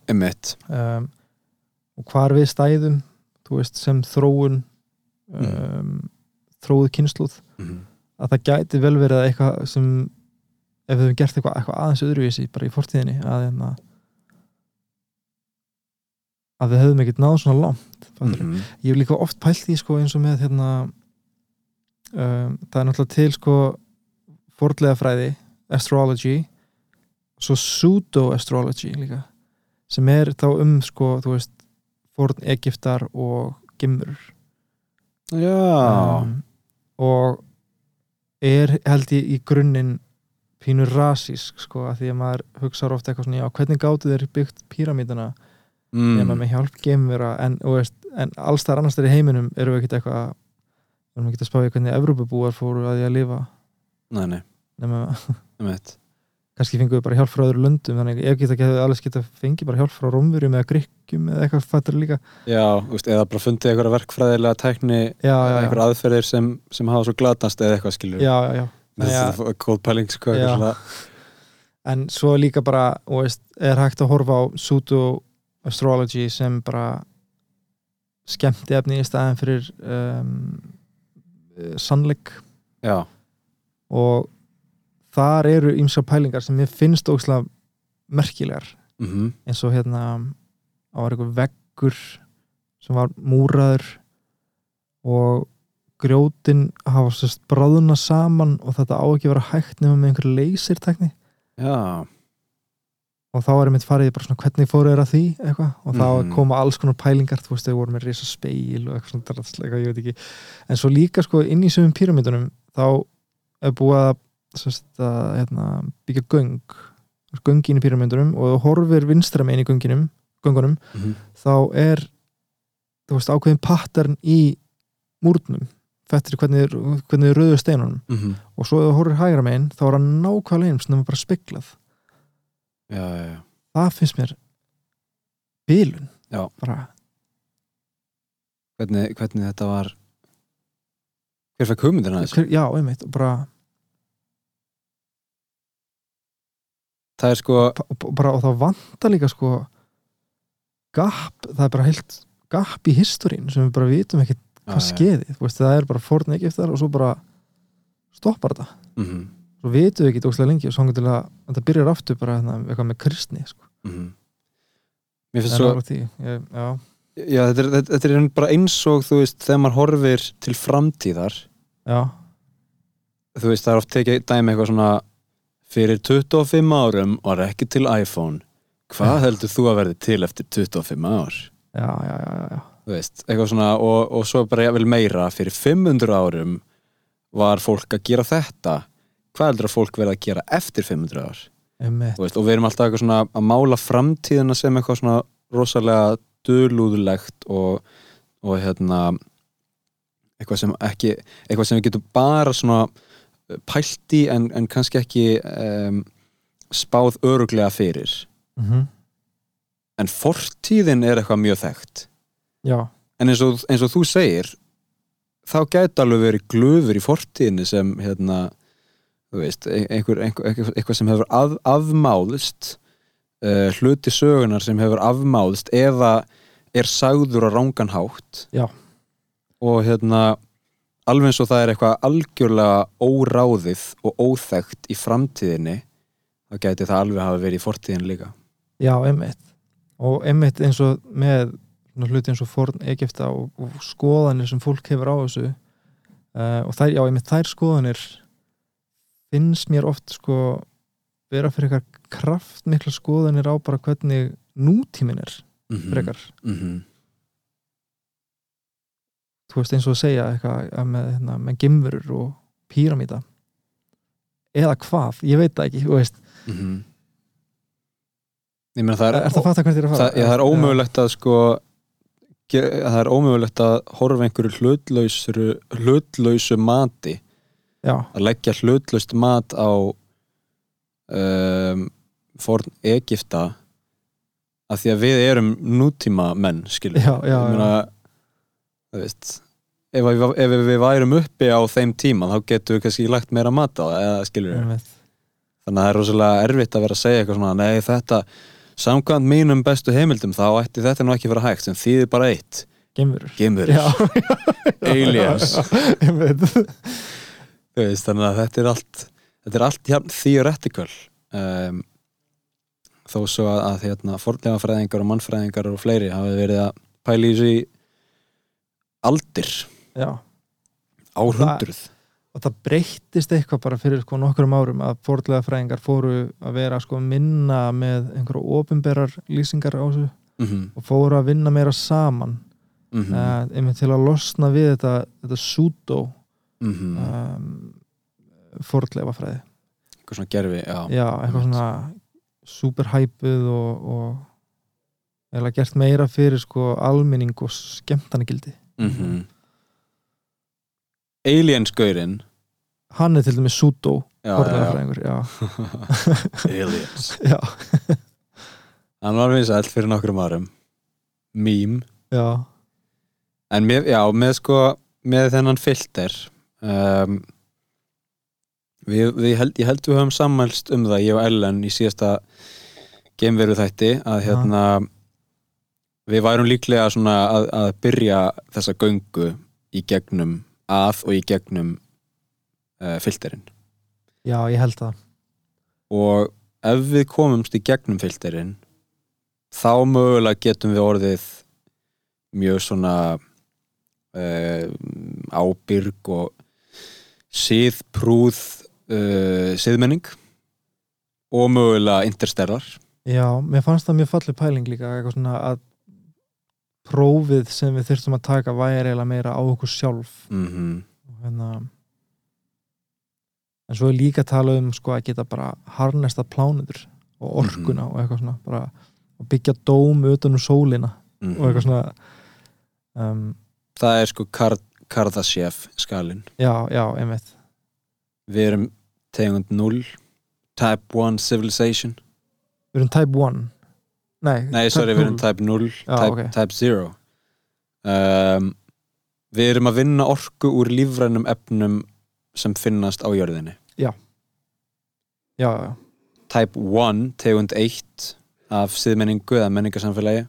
Speaker 1: Einmitt.
Speaker 2: um, og hvar við stæðum þú veist, sem þróun um, þróuð kynnslóð
Speaker 1: Mhm.
Speaker 2: að það gæti vel verið að eitthvað sem ef við höfum gert eitthvað, eitthvað aðeins öðruvísi bara í fortíðinni að, hérna, að við höfum ekkert náð svona langt mm
Speaker 1: Mhm.
Speaker 2: ég hef líka oft pælt í sko eins og með hérna um, það er náttúrulega til sko fornleifafræði, astrology svo pseudo-astrology líka sem er þá um sko, þú veist, forn Egiptar og Gimur
Speaker 1: Já,
Speaker 2: um, og er held ég í grunninn pínur rasísk sko, að því að maður hugsar ofta eitthvað svona, já, hvernig gátu þeir byggt píramítana nema
Speaker 1: mm.
Speaker 2: með hjálp geimvera en, og veist, en alls þar annars þar í heiminum erum við ekkert eitthvað við erum ekkert að spá í hvernig Evrópubúar fóru að því að lifa
Speaker 1: nei, nei,
Speaker 2: nema,
Speaker 1: um eitt
Speaker 2: kannski fengum við bara hjálp frá öðru löndum þannig ef geta ekki alveg geta fengið bara hjálp frá romverjum eða grikkjum eða eitthvað fattur líka
Speaker 1: Já, þú veist, eða bara fundið eitthvað verkfræðilega tækni,
Speaker 2: já, já, já,
Speaker 1: eitthvað aðferðir sem, sem hafa svo glatast eða eitthvað skilur
Speaker 2: já, já, já.
Speaker 1: með
Speaker 2: Já.
Speaker 1: þetta góð pæling sko,
Speaker 2: Já.
Speaker 1: eitthvað svona,
Speaker 2: en svo líka bara og veist, er hægt að horfa á pseudo-astrology sem bara skemmti efni í staðan fyrir um, eh, sannleik
Speaker 1: já,
Speaker 2: og þar eru ýmsa pælingar sem mér finnst ókslega merkilegar
Speaker 1: mhm
Speaker 2: eins og hérna það var einhver veggur sem var múraður og grjótin hafa sérst bráðuna saman og þetta á ekki að vera hægt nema með einhver leysirtekni
Speaker 1: já,
Speaker 2: og þá er mitt farið í bara svona hvernig fóru þeir að því eitthvað og þá
Speaker 1: Mhm.
Speaker 2: koma alls konar pælingar þú veist þau voru með risa speil og eitthvað svona drasl, eitthvað, ég veit ekki en svo líka sko inn í sögum píramítunum þá er búið að, sérst, að hérna, byggja göng göngin í píramítunum og þú horfir vinstra megin í gönginum, göngunum
Speaker 1: mhm,
Speaker 2: þá er þú veist ákveðin pattern í múrnum fættir hvernig, þeir- hvernig þeir rauðu steinunum
Speaker 1: mhm
Speaker 2: og svo ef þú horfir hægra megin þá er hann nákvæmlega eins nema bara spiklað
Speaker 1: já, já, já,
Speaker 2: það finnst mér bílun
Speaker 1: Já.
Speaker 2: bara,
Speaker 1: hvernig, hvernig þetta var hver fæk hugmyndina þessu?
Speaker 2: hver, já, einmitt og bara,
Speaker 1: Það er sko,
Speaker 2: og, bara, og það vantar líka sko gap, það er bara heilt gap í historín sem við bara vitum ekkert
Speaker 1: já,
Speaker 2: hvað skeiði, þú veist, það er bara forn Egiptar og svo bara stoppar þetta
Speaker 1: mhm,
Speaker 2: svo vitum við ekki dókslega lengi og svo hangið til að þetta byrjar aftur bara hérna, eitthvað með kristni sko.
Speaker 1: mhm Mér
Speaker 2: En
Speaker 1: finnst svo,
Speaker 2: nálægt því, ég, já,
Speaker 1: já, þetta er, þetta- þetta er í raun bara eins og þú veist, þegar maður horfir til framtíðar
Speaker 2: já,
Speaker 1: þú veist, það er oft tekið dæmi eitthvað svona fyrir 25 árum var ekki til iPhone hvað heldur þú að verði til eftir 25 ár?
Speaker 2: já, já, já, já, já.
Speaker 1: Þú veist, eitthvað svona og, og svo bara jafnvel meira fyrir 500 árum var fólk að gera þetta hvað heldur að fólk verði að gera eftir 500 ár?
Speaker 2: einmitt,
Speaker 1: Þú veist, og við erum alltaf eitthvað svona að mála framtíðina sem eitthvað svona rosalega dulúðlegt og, og hérna eitthvað sem ekki eitthvað sem við getum bara svona eh, pælt í en, en kannski ekki um, spáð öruglega fyrir
Speaker 2: mhm
Speaker 1: en fortíðin er eitthvað mjög þekkt
Speaker 2: já,
Speaker 1: en eins og, eins og þú segir þá gæti alveg verið glöfur í fortíðinni sem hérna þú veist, ein- einhver, einhver, einhver, eitthvað sem hefur af, afmáðst uh, hluti sögunar sem hefur afmáðst eða er sagður á rángan hátt
Speaker 2: Já.
Speaker 1: og hérna alveg eins og það er eitthvað algjörlega óráðið og óþekkt í framtíðinni þá gæti það alveg hafa verið í fortíðin líka
Speaker 2: Já, einmitt og einmitt eins og með svona hluti eins og forn Egipta og, og skoðanir sem fólk hefur á þessu uh, og þær, já, einmitt þær skoðanir finnst mér oft sko vera fyrir eitthvað kraftmikla skoðanir á bara hvernig nútímin er
Speaker 1: mm -hmm.
Speaker 2: frekar,
Speaker 1: mm -hmm.
Speaker 2: þú veist eins og að segja eitthvað að með, hérna, með gimverur og píramíta eða hvað, ég veit það ekki þú veist,
Speaker 1: mhm. Ég meina það
Speaker 2: er,
Speaker 1: er,
Speaker 2: er það að fatta hvert þér að fara?
Speaker 1: það, ég, það er ómögulegt að sko ge- það er ómögulegt að horfa einhverju hlutlausru, hlutlausu mati
Speaker 2: Já,
Speaker 1: að leggja hlutlaust mat á um, forn Egipta að því að við erum nútíma menn skilur
Speaker 2: já, já,
Speaker 1: Ég
Speaker 2: já,
Speaker 1: meina, þú veist ef, að- ef við værum uppi á þeim tíma þá getum við kannski lagt meira mat á það eða skilur
Speaker 2: einmitt
Speaker 1: þannig að það er rosalega erfitt að vera að segja eitthvað svona, nei þetta samkvæmt mínum bestu heimildum þá ætti þetta nú ekki að vera hægt sem þýðir bara eitt,
Speaker 2: Gimverur
Speaker 1: gemur
Speaker 2: Já,
Speaker 1: aliens,
Speaker 2: einmitt
Speaker 1: þú veist, þannig að þetta er allt þetta er allt jafn theoretical um, þó svo að, að hérna, fornlegafræðingar og mannfræðingar og fleiri hafi verið að pæla í þessu í aldir
Speaker 2: Já,
Speaker 1: áhundruð,
Speaker 2: og og það breyttist eitthvað bara fyrir sko nokkrum árum að fórlega fræðingar fóru að vera sko minna með einhverju ofinberar lýsingar á þessu
Speaker 1: mhm,
Speaker 2: og fóru að vinna meira saman
Speaker 1: mhm,
Speaker 2: mm. einmitt til að losna við þetta, þetta súdó
Speaker 1: mhm.
Speaker 2: um, fórleifafræði
Speaker 1: Eitthvað svona gerfi, já
Speaker 2: já, eitthvað
Speaker 1: einmitt.
Speaker 2: svona superhæpuð og, og eða gert meira fyrir sko almenning og skemmtanagildi
Speaker 1: mhm. Aliensgaurinn
Speaker 2: hann er til dæmis súdó
Speaker 1: Já, já,
Speaker 2: fórleifafræðingur, já,
Speaker 1: já. Aliens
Speaker 2: já,
Speaker 1: Hann var vinsæll fyrir nokkrum árum Mím
Speaker 2: já.
Speaker 1: En mér, já, með sko með þennan filter um, við, við held, ég held við höfum sammælst um það ég og Ellen í síðasta gameveru þætti að hérna við værum líklega svona að, að byrja þessa göngu í gegnum að og í gegnum uh, filterinn
Speaker 2: já, ég held það
Speaker 1: og ef við komumst í gegnum filterinn þá mögulega getum við orðið mjög svona uh, ábyrg og síðprúð uh, síðmenning og mögulega interstellar
Speaker 2: Já, mér fannst það mjög fallið pæling líka eitthvað svona að prófið sem við þyrstum að taka væri eiginlega meira á okkur sjálf
Speaker 1: mm
Speaker 2: Og hérna, en svo er líka að tala um sko að geta bara harnesta plánutur og orkuna
Speaker 1: Mhm.
Speaker 2: og eitthvað svona bara að byggja dóm utan um sólina og eitthvað svona um,
Speaker 1: mhm. það er sko Kar Kardashev skalinn
Speaker 2: já, já, einmitt
Speaker 1: við erum tegund 0 type 1 civilization
Speaker 2: við erum type 1 nei,
Speaker 1: Nei,
Speaker 2: type
Speaker 1: sorry, við erum
Speaker 2: 0.
Speaker 1: type 0
Speaker 2: Já,
Speaker 1: type,
Speaker 2: ok.
Speaker 1: type 0 um, Við erum að vinna orku úr lífrænum efnum sem finnast á jörðinni
Speaker 2: já, já,
Speaker 1: Type 1, tegund 1 af siðmenningu eða menningarsamfélagi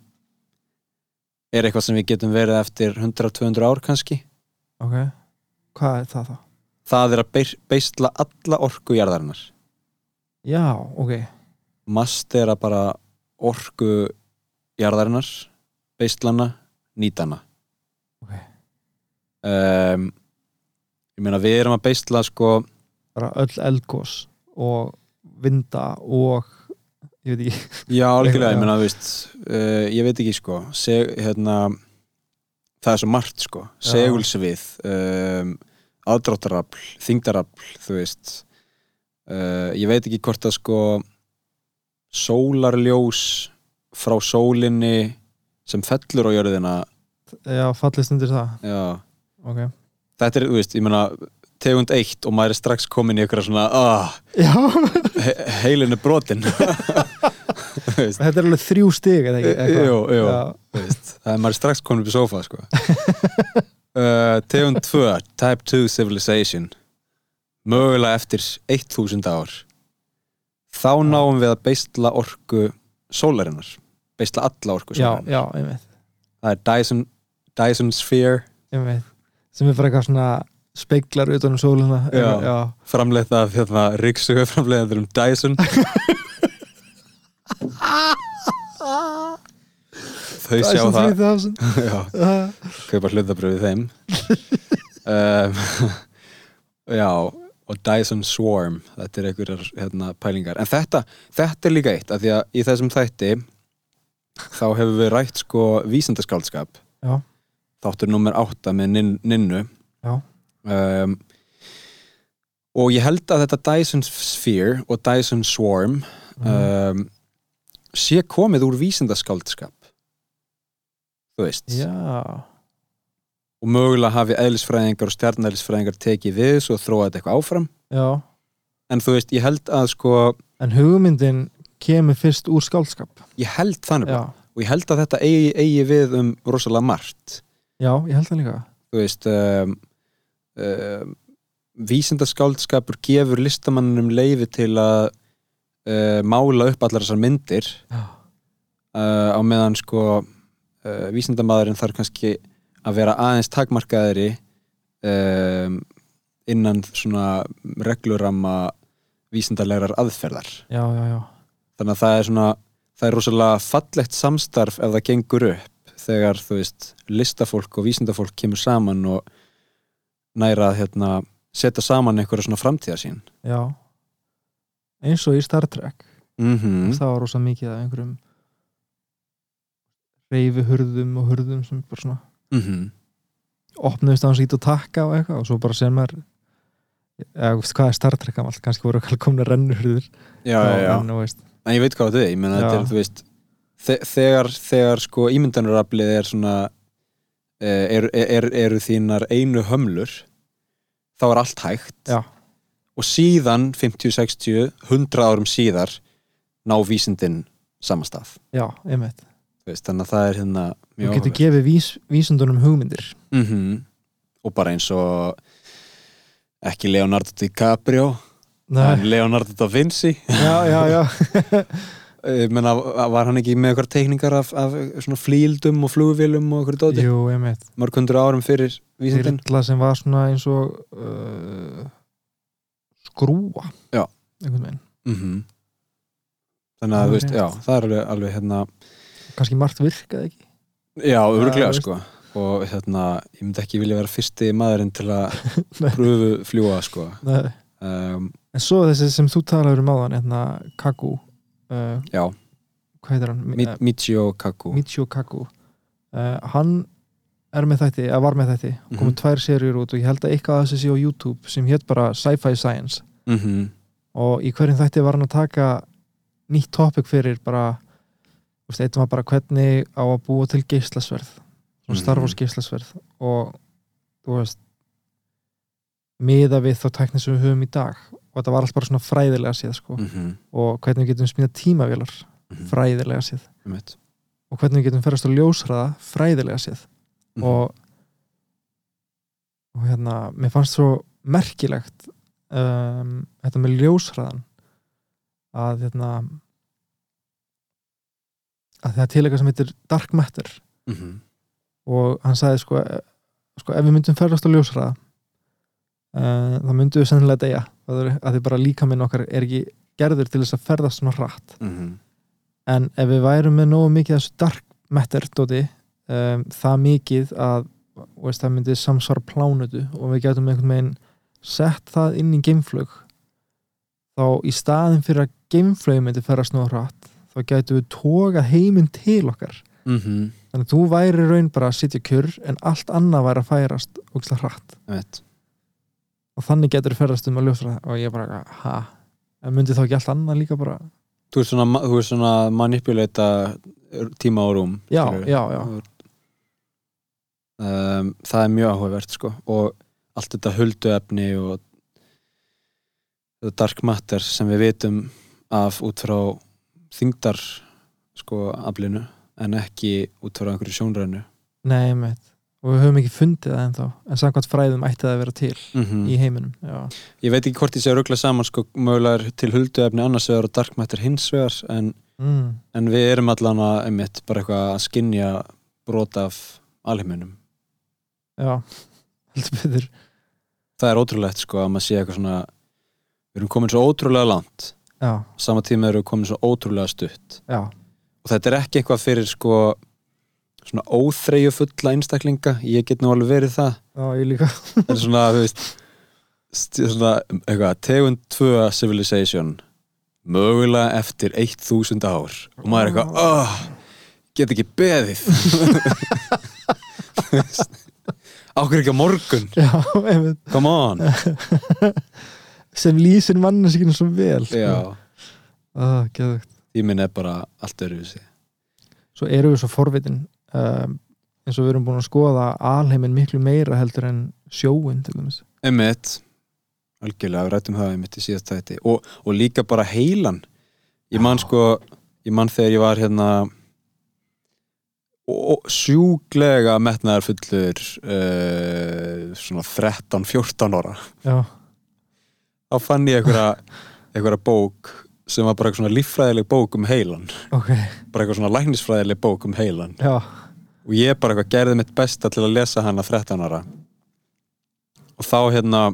Speaker 1: er eitthvað sem við getum verið eftir 100-200 ár kannski
Speaker 2: ok hvað er það þá?
Speaker 1: Það er að beir- beisla alla orku jarðarinnar
Speaker 2: já, ok,
Speaker 1: mastera bara orku jarðarinnar, beislana nýtana
Speaker 2: Ok.
Speaker 1: um, ég meina við erum að beisla sko,
Speaker 2: bara öll eldgós og vinda og ég veit ekki,
Speaker 1: já algjörlega
Speaker 2: Já.
Speaker 1: ég meina þú veist, uh, ég veit ekki sko seg, hérna það er svo margt sko,
Speaker 2: Já.
Speaker 1: segulsvið um, aðdráttarafl þingdarafl, þú veist uh, ég veit ekki hvort að sko sólarljós frá sólinni sem fellur á jörðina
Speaker 2: já, fallist undir það
Speaker 1: já
Speaker 2: ok,
Speaker 1: þetta er, þú veist, ég meina tegund eitt og maður er strax komin í eitthvað svona ah,
Speaker 2: já,
Speaker 1: he heilin er brotin Þú veist,
Speaker 2: þetta er alveg þrjú stig eða ekki, eitthvað.
Speaker 1: jú, jú,
Speaker 2: já,
Speaker 1: þú veist það er maður er strax komin upp í sófa sko. uh, tegund 2 type 2 civilization mögulega eftir 1000 ár þá náum við að beisla orku sólarinnar beisla alla orku
Speaker 2: já,
Speaker 1: sólarinnar
Speaker 2: já, einmitt,
Speaker 1: það er Dyson, Dyson Sphere
Speaker 2: einmitt sem er bara eitthvað svona speiklar utan um sóluna
Speaker 1: Já.
Speaker 2: eitthvað, já,
Speaker 1: framleitt af hérna, ríksuga framleitt um Dyson þau sjá
Speaker 2: Dyson
Speaker 1: það
Speaker 2: 3000.
Speaker 1: já,
Speaker 2: Ah,
Speaker 1: kaupa hlutabröfið þeim um, já og Dyson Swarm þetta er einhverjar hérna, pælingar en þetta, þetta er líka eitt af því að í þessum þætti þá hefur við rætt sko vísindaskáldskap
Speaker 2: Já.
Speaker 1: þáttur nummer 8 með nin, Ninnu
Speaker 2: Já.
Speaker 1: um, og ég held að þetta Dyson Sphere og Dyson Swarm
Speaker 2: mm,
Speaker 1: um, sé komið úr vísindaskáldskap þú veist
Speaker 2: já,
Speaker 1: og mögulega hafi eðlisfræðingar og stjarnæðlisfræðingar tekið við þessu og þróað þetta eitthvað áfram
Speaker 2: já
Speaker 1: en þú veist, ég held að sko
Speaker 2: en hugmyndin kemur fyrst úr skálskap
Speaker 1: ég held þannig
Speaker 2: já,
Speaker 1: og ég held að þetta eigi, eigi við um rosalega margt
Speaker 2: já, ég held það líka
Speaker 1: þú veist um, um, vísindaskáldskapur gefur listamannunum leifi til að uh, mála upp allar þessar myndir
Speaker 2: já,
Speaker 1: uh, á meðan sko uh, vísindamaðurinn þarf kannski að vera aðeins takmarkaðri um, innan svona regluramma vísindalegrar aðferðar
Speaker 2: já, já, já,
Speaker 1: þannig að það er svona það er rosalega fallegt samstarf ef það gengur upp þegar þú veist listafólk og vísindafólk kemur saman og næra hérna setja saman einhverja svona framtíðasín
Speaker 2: já eins og í Star Trek
Speaker 1: mm
Speaker 2: það var rosa mikið af einhverjum reyfihurðum og hurðum sem bara svona
Speaker 1: Mhm.
Speaker 2: opnuðist að hans ít og takka og eitthvað og svo bara sem er eða þú veist hvað er Star Trek gamalt kannski voru okkar komna rennurhurður
Speaker 1: já, já, já.
Speaker 2: En, þú veist,
Speaker 1: en ég veit hvað þetta er, ég meina þetta
Speaker 2: Já.
Speaker 1: er, þú veist þe- þegar, þegar sko ímyndunaraflið er svona eh, er, er, eru þínar einu hömlur þá er allt hægt
Speaker 2: Já.
Speaker 1: og síðan 50, 60, 100 árum síðar ná vísindin samastað,
Speaker 2: já, einmitt
Speaker 1: þú veist, þannig að það er hérna
Speaker 2: þú getur gefið vís, vísundunum hugmyndir
Speaker 1: mm og bara eins og ekki Leonardo DiCaprio en
Speaker 2: Nei,
Speaker 1: Leonardo da Vinci
Speaker 2: já, já, já
Speaker 1: Ég meina, var hann ekki með eitthvað teikningar af, af svona flíldum og flugvélum og eitthvað dóti,
Speaker 2: jú, einmitt
Speaker 1: mörg hundur árum fyrir vísindin
Speaker 2: Þyrla sem var svona eins og uh, skrúa
Speaker 1: Já.
Speaker 2: einhvern veginn,
Speaker 1: mm þannig að,
Speaker 2: Alveg
Speaker 1: þú veist,
Speaker 2: rétt.
Speaker 1: já, það er alveg, alveg hérna,
Speaker 2: kannski margt virkaði ekki
Speaker 1: já,
Speaker 2: Já,
Speaker 1: öruglega
Speaker 2: veist.
Speaker 1: sko og hérna, ég myndi ekki vilja vera fyrsti maðurinn til að
Speaker 2: Nei.
Speaker 1: pröfu fljúa sko
Speaker 2: Nei.
Speaker 1: um,
Speaker 2: en svo þessi sem þú talar um áðan hérna Kaku uh,
Speaker 1: já,
Speaker 2: hvað heitir hann? Mi-
Speaker 1: Mi- Michio Kaku
Speaker 2: Michio Kaku uh, hann er með þætti, eða var með þætti mm komum
Speaker 1: Mhm.
Speaker 2: tvær serjur út og ég held að eitthvað að þessi sé á YouTube sem hétt bara Sci-Fi Science
Speaker 1: mm
Speaker 2: og í hverjum þætti var hann að taka nýtt topic fyrir bara, þú veist, eitthvað var bara hvernig á að búa til geislasverð og
Speaker 1: Mhm.
Speaker 2: starfa á geislasverð og þú veist miða við þá tækni sem við höfum í dag og þetta var allt bara svona fræðilega séð sko.
Speaker 1: mm -hmm.
Speaker 2: og hvernig við getum smíða tímavélar
Speaker 1: Fræ...
Speaker 2: fræðilega séð og hvernig við getum ferast á ljósraða fræðilega séð
Speaker 1: Mhm,
Speaker 2: og og hérna, mér fannst svo merkilegt um, þetta með ljósraðan að hérna að það er til eitthvað sem heitir Dark Matter
Speaker 1: mm -hmm.
Speaker 2: og hann sagði sko, eh, sko ef við myndum ferðast á ljósraða uh, þá myndum við sennilega deyja Það er- að því bara líkaminn okkar er ekki gerður til þess að ferðast svona hratt
Speaker 1: Mm -hmm.
Speaker 2: en ef við værum með nógu mikið af þessu dark matter dóti um, það mikið að þú veist, það myndi samsvara plánutu og við getum einhvern veginn sett það inn í geimflög þá í staðin fyrir að geimflög myndi ferast nóg hratt þá getum við tókað heiminn til okkar
Speaker 1: Mm -hmm.
Speaker 2: þannig að þú væri í raun bara að sitja kjur en allt annað væri að færast ógislega hratt og þannig getur við ferast um að ljósa það og ég bara, ha, en myndi þá ekki allt annað líka bara,
Speaker 1: þú ert svona, þú ert svona að manipulata tíma og rúm
Speaker 2: já,
Speaker 1: skilurðu.
Speaker 2: já, já
Speaker 1: um, það er mjög áhugavert sko og allt þetta hulduefni og the dark matter sem við vitum af út frá þingdar sko aflinu en ekki út frá einhverju sjónrænu
Speaker 2: Nei, meitt. Og við höfum ekki fundið það ennþá. En samkvæmt fræðum ætti það að vera til
Speaker 1: mm
Speaker 2: í heiminum. Já.
Speaker 1: ég veit ekki hvort ég sé að ruggla saman sko mögulega er til hulduefni annars vegar og dark matter hins vegar en,
Speaker 2: Mm.
Speaker 1: en við erum allan að einmitt bara eitthvað að skinja brota af alheiminum
Speaker 2: Já. Heldur betur.
Speaker 1: það er ótrúlegt sko að maður sé eitthvað svona við erum komin svo ótrúlega langt
Speaker 2: Já,
Speaker 1: sama tíma erum við komin svo ótrúlega stutt
Speaker 2: já,
Speaker 1: og þetta er ekki eitthvað fyrir sko svona óþreyju fulla einstaklinga ég get nú alveg verið það
Speaker 2: já, ég líka.
Speaker 1: en svona, þú veist st- svona, eitthvað, tegund 2 civilization mögulega eftir 1000 ár og maður er eitthvað, oh, get ekki beðið Þú veist, á hverju ekki á morgun
Speaker 2: Já, einmitt.
Speaker 1: come on
Speaker 2: Sem lýsir manneskinu svo vel.
Speaker 1: já,
Speaker 2: Ah, geðvegt.
Speaker 1: tíminn er bara allt öruvísi
Speaker 2: Svo eru við svo forvitin. Um, eins og við erum búin að skoða alheimin miklu meira heldur en sjóin til dæmis.
Speaker 1: Emmett algjörlega, við rættum það Emmett í síðast þætti og, og líka bara heilan ég man
Speaker 2: Já.
Speaker 1: sko ég man þegar ég var hérna og sjúglega metnaðar fullur uh, svona 13-14 ára
Speaker 2: Já,
Speaker 1: þá fann ég einhverja, einhverja bók sem var bara eitthvað svona líffræðileg bók um heilan
Speaker 2: ok.
Speaker 1: bara eitthvað svona læknisfræðileg bók um heilan
Speaker 2: Já,
Speaker 1: og ég bara eitthvað gerði mitt besta til að lesa hana 13 ára og þá hérna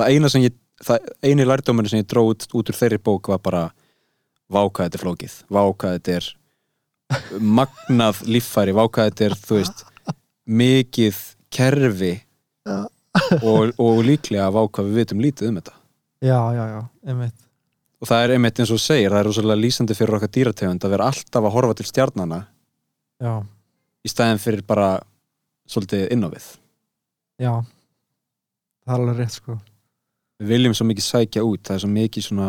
Speaker 1: það eina sem ég það eini lærdómurinn sem ég dró út, út úr þeirri bók var bara vákað þetta er flókið, vákað þetta er magnað líffæri vákað þetta er, þú veist mikið kerfi
Speaker 2: Já.
Speaker 1: og, og líklega af ákvað við vitum lítið um þetta
Speaker 2: já, já, já, einmitt
Speaker 1: og það er einmitt eins og þú segir, það er rosalega lýsandi fyrir okkar dýrategund að vera alltaf að horfa til stjarnana
Speaker 2: já,
Speaker 1: í stæðin fyrir bara svolítið inn á við
Speaker 2: já það er alveg rétt sko
Speaker 1: við viljum svo mikið sækja út það er svo mikið svona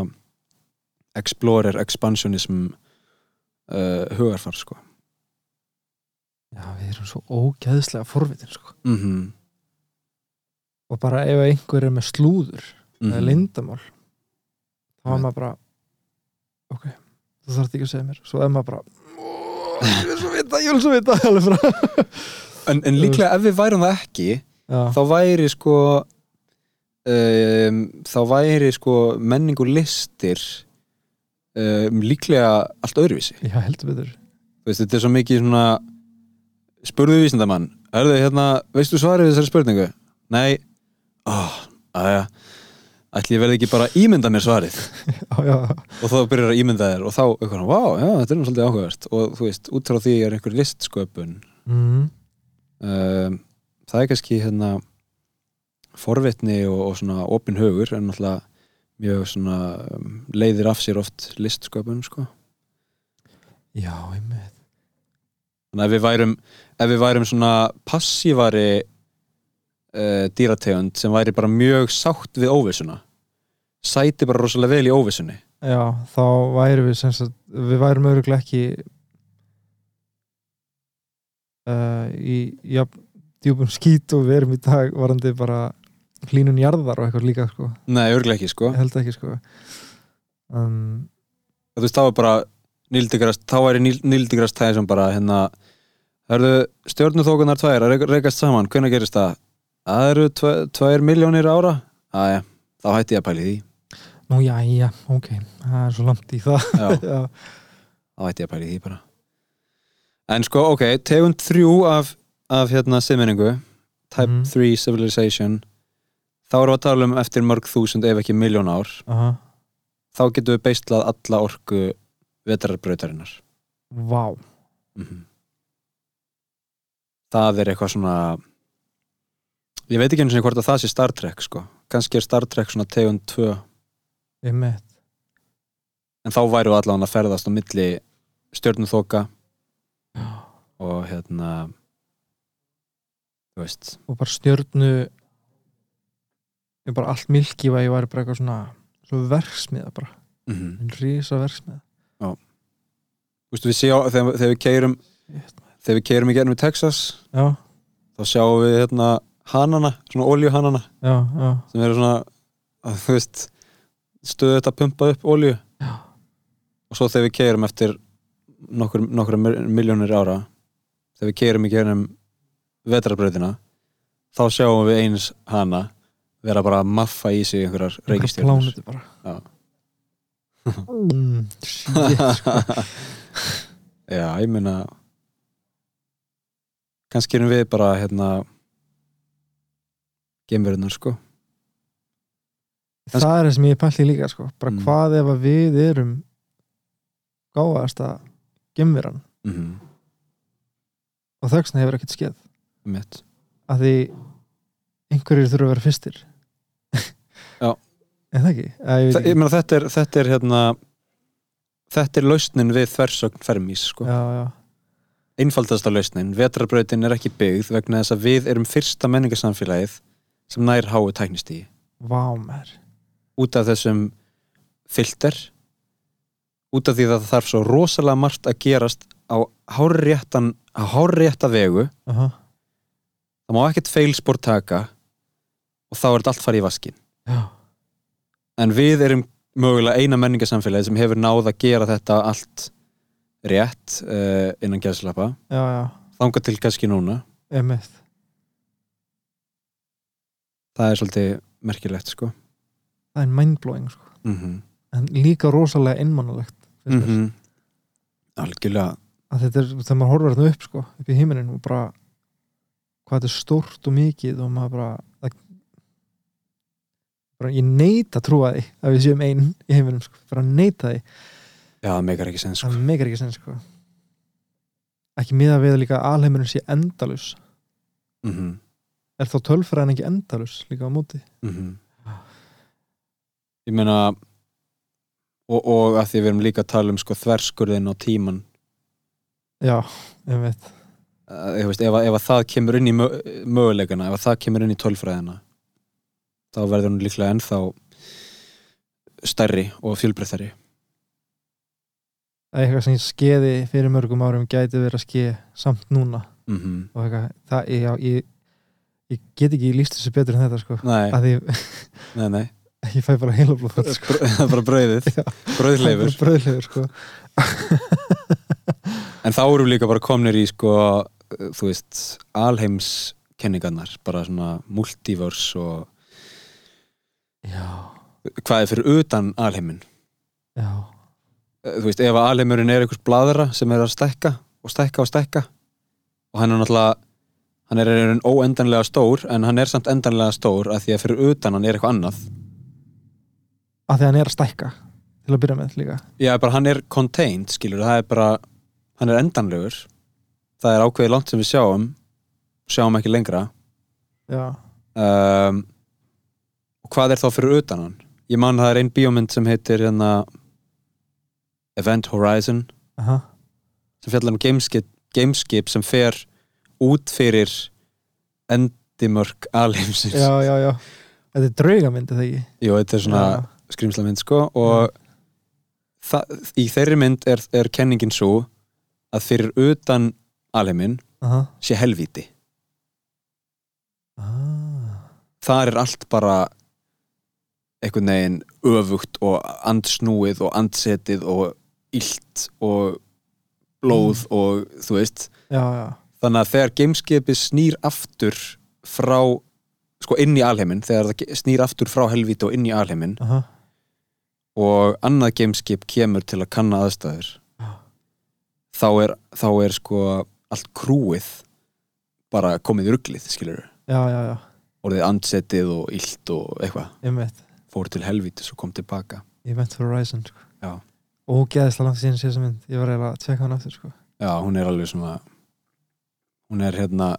Speaker 1: explorer, expansionism uh, hugarfar sko
Speaker 2: já, við erum svo ógeðslega forvitin sko
Speaker 1: mm
Speaker 2: og bara ef einhver er með slúður
Speaker 1: Mhm.
Speaker 2: eða lindamál þá er
Speaker 1: Einmitt.
Speaker 2: maður bara ok, þú þarf ekki að segja mér svo er maður bara "Ó, ég vil svo vita, ég vil svo vita alveg frá
Speaker 1: en, en líklega ef við værum það ekki
Speaker 2: já,
Speaker 1: þá væri sko um, þá væri sko menning og listir um, líklega allt öðruvísi
Speaker 2: já heldur betur
Speaker 1: Þú veist, þetta er svo mikið svona spurðu vísindamann Erðu, hérna, veistu svarið við þessari spurningu? Nei oh, aðja, ætli ég verði ekki bara að ímynda mér svarið
Speaker 2: já, já,
Speaker 1: og þá byrjar að ímynda þér og þá eitthvað, vá, já, þetta er nú svolítið áhugavert og þú veist, út frá því er einhver listsköpun
Speaker 2: mm.
Speaker 1: um, það er kannski hérna forvitni og, og svona opin hugur en náttúrulega mjög svona um, leiðir af sér oft listsköpun sko.
Speaker 2: já, einmitt
Speaker 1: þannig að ef við værum ef við værum svona passívari uh, dýrategund sem væri bara mjög sátt við óvissuna sæti bara rosalega vel í óvissunni
Speaker 2: já, þá værum við sem sagt við værum öruglega ekki uh, í já, djúpum skít og við erum í dag varandi bara hlínun jarðar og eitthvað líka sko,
Speaker 1: nei, örglega ekki sko
Speaker 2: ég held ekki sko um,
Speaker 1: þú veist, þá er bara nýldigrast, þá væri nýldigrast tæði sem bara hérna Hörðu, stjórnuþókunar tvær að rek- rekast saman, hvenær gerist það? Það eru tve, tvær miljónir ára? Æja, þá hætti ég að pæli því
Speaker 2: nú já, já, ok það er svo langt í það
Speaker 1: Já,
Speaker 2: já,
Speaker 1: þá hætti ég að pæli því bara En sko, ok, tegund þrjú af, af hérna siminningu Type
Speaker 2: Mhm.
Speaker 1: 3 Civilization Þá erum við að tala um eftir mörg þúsund ef ekki miljón ár
Speaker 2: aha,
Speaker 1: Þá getum við beislað alla orku vetrarbrautarinnar
Speaker 2: vá
Speaker 1: -hmm. það er eitthvað svona ég veit ekki einu sinni hvort að það sé Star Trek sko. kannski er Star Trek svona tegund 2
Speaker 2: einmitt,
Speaker 1: en þá væru allan að ferðast á milli stjörnuþoka og hérna þú veist
Speaker 2: og bara stjörnu ég bara allt milkivæg væri bara eitthvað svona, svona verksmiða bara,
Speaker 1: mm -hmm.
Speaker 2: en rísa verksmiða
Speaker 1: Vistu, við sjá, þegar, þegar við keirum
Speaker 2: Shit,
Speaker 1: þegar við keirum í gerum í Texas
Speaker 2: já,
Speaker 1: þá sjáum við hérna hanana, svona oljuhanana
Speaker 2: já, já
Speaker 1: sem eru svona að, þú veist, stöðu þetta að pumpa upp olju
Speaker 2: Já.
Speaker 1: og svo þegar við keirum eftir nokkur, nokkur miljónir ára þegar við keirum í gerum vetrarbröðina þá sjáum við eins hana vera bara að maffa í sig einhverjar reikistjörnur
Speaker 2: plánutu bara
Speaker 1: Já.
Speaker 2: mm, shit, sko.
Speaker 1: Já, ég meina kannski erum við bara hérna geimverunar sko
Speaker 2: það er það sem ég pæli líka sko. bara
Speaker 1: Mm.
Speaker 2: hvað ef að við erum gáðasta gemveran
Speaker 1: mm -hmm.
Speaker 2: og þögsna hefur ekkert skeð
Speaker 1: mitt
Speaker 2: að því einhverjir þurfa að vera fyrstir
Speaker 1: Já.
Speaker 2: en það ekki, Æ, ég veit
Speaker 1: Þa,
Speaker 2: ekki.
Speaker 1: ég meina þetta er, þetta er hérna þetta er lausnin við þversögn fermís sko.
Speaker 2: já, já,
Speaker 1: einfaldasta lausnin, vetrarbrautin er ekki byggð vegna þess að við erum fyrsta menningarsamfélagið sem nær háu tæknistíi
Speaker 2: vámer
Speaker 1: út af þessum filter út af því að það þarf svo rosalega margt að gerast á hárréttan á hárrétta vegu,
Speaker 2: uh -huh.
Speaker 1: það má ekkert feilspor taka og þá er þetta allt farið í vaskin
Speaker 2: já,
Speaker 1: en við erum mögulega eina menningarsamfélagið sem hefur náð að gera þetta allt rétt uh, innan gæðslappa
Speaker 2: já, já,
Speaker 1: þanga til kannski núna
Speaker 2: emið
Speaker 1: það er svolítið merkilegt sko
Speaker 2: það er mindblowing sko.
Speaker 1: mm -hmm.
Speaker 2: en líka rosalega innmannulegt mm
Speaker 1: Mhm.
Speaker 2: -hmm.
Speaker 1: algjörlega
Speaker 2: að þetta er, þegar maður horfir þarna upp sko, upp í heiminin og bara hvað þetta er stórt og mikið og maður bara, það, bara ég neita trúa því að við séum einn í heiminum sko, bara neita því
Speaker 1: já, það meikar ekki sens sko.
Speaker 2: það meikar ekki sens sko ekki miða við að líka að alheimurinn sé endalus
Speaker 1: mm -hmm.
Speaker 2: er þá tölfræðin ekki endalus líka á móti
Speaker 1: Mhm. ég meina og, og að því við erum líka að tala um sko þverskurðin á tíman
Speaker 2: já, ég veit
Speaker 1: uh, veist, ef, að- ef að það kemur inn í mö- möguleikana ef að það kemur inn í tölfræðina þá verður hún líklega ennþá stærri og fjölbreyttari
Speaker 2: að eitthvað sem skeði fyrir mörgum árum gæti verið að skeði samt núna
Speaker 1: mm
Speaker 2: og eitthvað, það, ég- já, ég, ég get ekki líst þessu betur en þetta sko
Speaker 1: nei,
Speaker 2: að ég,
Speaker 1: nei, nei
Speaker 2: ég fæ bara heila blóð sko.
Speaker 1: það er bara brauðið,
Speaker 2: Já.
Speaker 1: brauðleifur
Speaker 2: bröðleifur sko
Speaker 1: en þá erum við líka bara komnir í sko, uh, þú veist, alheimskenningarnar bara svona multiverse og
Speaker 2: já,
Speaker 1: hvað er fyrir utan alheimin
Speaker 2: já,
Speaker 1: Uh, þú veist, ef að alheimurinn er einhvers bladra sem er að stekka og stekka og stekka og hann er náttúrulega hann er einhvern óendanlega stór en hann er samt endanlega stór að því að fyrir utan hann er eitthvað annað
Speaker 2: að því að hann er að stækka til að byrja með líka
Speaker 1: Já, bara hann er contained, skilur, það er bara hann er endanlegur það er ákveðið langt sem við sjáum sjáum ekki lengra
Speaker 2: já,
Speaker 1: um, og hvað er þá fyrir utan hann? Ég man að það er ein bíómynd sem heitir hérna Event Horizon
Speaker 2: aha,
Speaker 1: sem fjallar um gameskip, gameskip sem fer út fyrir endimörk alheimsins
Speaker 2: já, já, já þetta er draugamyndi þegar ekki
Speaker 1: Jú, þetta er svona
Speaker 2: já,
Speaker 1: skrýmsla mynd sko og það, í þeirri mynd er, er kenningin svo að fyrir utan alheimin
Speaker 2: aha,
Speaker 1: sé helvíti
Speaker 2: ah,
Speaker 1: þar er allt bara einhvern veginn öfugt og andsnúið og andsetið og illt og blóð
Speaker 2: Mm.
Speaker 1: og þú veist
Speaker 2: já, já,
Speaker 1: þannig að þegar gameskipi snýr aftur frá sko inn í alheimin, þegar það ge- snýr aftur frá helvíti og inn í alheimin
Speaker 2: aha
Speaker 1: og annað gameskip kemur til að kanna aðstæður
Speaker 2: Já.
Speaker 1: þá er, þá er sko allt krúið bara komið í ruglið, skilur
Speaker 2: já, já, já,
Speaker 1: orðið andsetið og illt og eitthvað
Speaker 2: ég veit
Speaker 1: fór til helvítis og kom tilbaka
Speaker 2: Event Horizon sko.
Speaker 1: Já.
Speaker 2: ógeðislega langt síðan síðan mynd ég var eiginlega að tjekka hann aftur sko.
Speaker 1: já, hún er alveg svona hún er hérna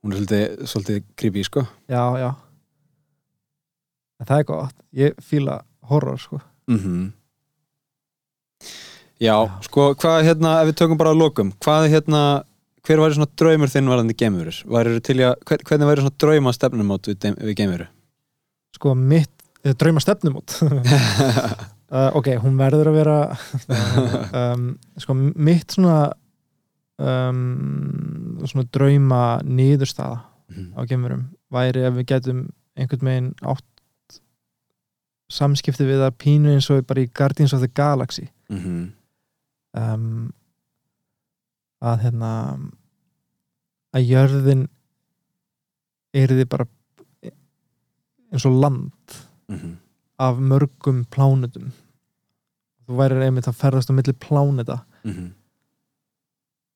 Speaker 1: hún er svolítið, svolítið creepy, sko
Speaker 2: já, já en það er gott, ég fíla horror sko.
Speaker 1: mm já,
Speaker 2: Já.
Speaker 1: sko, hvað hérna ef við tökum bara að lokum, hvað hérna hver væri svona draumur þinn varandi geimurur væri til í að, hver, hvernig væri svona drauma stefnumót við, deim- við geimuru
Speaker 2: sko mitt, eh, drauma stefnumót uh, ok, hún verður að vera um, sko mitt svona um, svona drauma niðurstaða
Speaker 1: Mhm.
Speaker 2: á gemurum væri ef við getum einhvern veginn átt samskipti við að pínu eins og bara í Guardians of the Galaxy
Speaker 1: Mhm.
Speaker 2: um, að hérna að jörðin erði bara eins og land
Speaker 1: Mhm.
Speaker 2: af mörgum plánutum þú værir einmitt að ferðast á milli plánuta
Speaker 1: Mhm.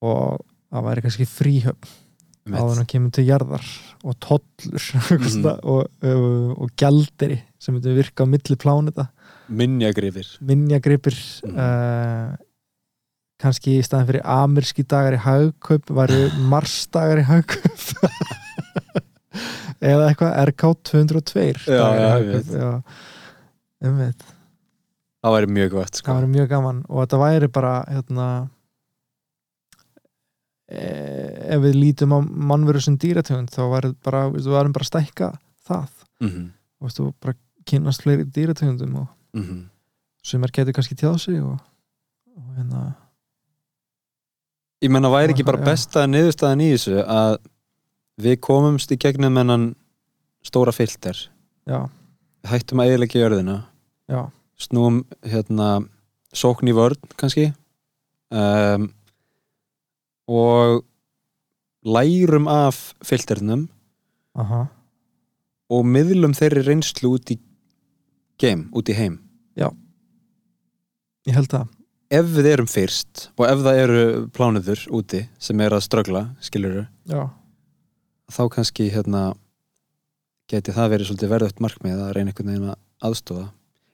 Speaker 2: og það væri kannski fríhöfn
Speaker 1: Einmitt.
Speaker 2: áður en kemur til jarðar og tollur mm
Speaker 1: Mhm.
Speaker 2: og, og, og gjalderi sem myndi virka á milli plánuta
Speaker 1: minjagrifir
Speaker 2: minjagripir
Speaker 1: Mhm.
Speaker 2: uh, kannski í staðan fyrir amirski dagar í hagkaup varu marsdagar í hagkaup eða eitthvað RK 202
Speaker 1: Já,
Speaker 2: dagar
Speaker 1: já,
Speaker 2: í
Speaker 1: ég
Speaker 2: hagkaup já, um veit
Speaker 1: það væri mjög gott,
Speaker 2: það
Speaker 1: sko
Speaker 2: væri mjög gaman og þetta væri bara hérna e, ef við lítum á mannveru sem dýrategund þá væri bara, við varum bara að stækka það,
Speaker 1: Mhm.
Speaker 2: þú veist, og bara kynnast fleiri dýrategundum og
Speaker 1: Mhm.
Speaker 2: sem er getur kannski tjáð sig og, og hérna
Speaker 1: ég menna væri ekki bara
Speaker 2: Já.
Speaker 1: besta niðurstaðan í þessu að við komumst í gegnum ennan stóra filter
Speaker 2: Já,
Speaker 1: hættum að eðilegja jörðina
Speaker 2: já,
Speaker 1: snúum hérna sókn í vörn kannski um, og lærum af filternum
Speaker 2: aha,
Speaker 1: og miðlum þeirri reynslu út í game, út í heim
Speaker 2: ég held það
Speaker 1: ef við erum fyrst og ef það eru plánuður úti sem er að ströggla, skilur
Speaker 2: Já,
Speaker 1: þá kannski hérna geti það verið svolítið verðugt markmið að reyna einhvern veginn að aðstofa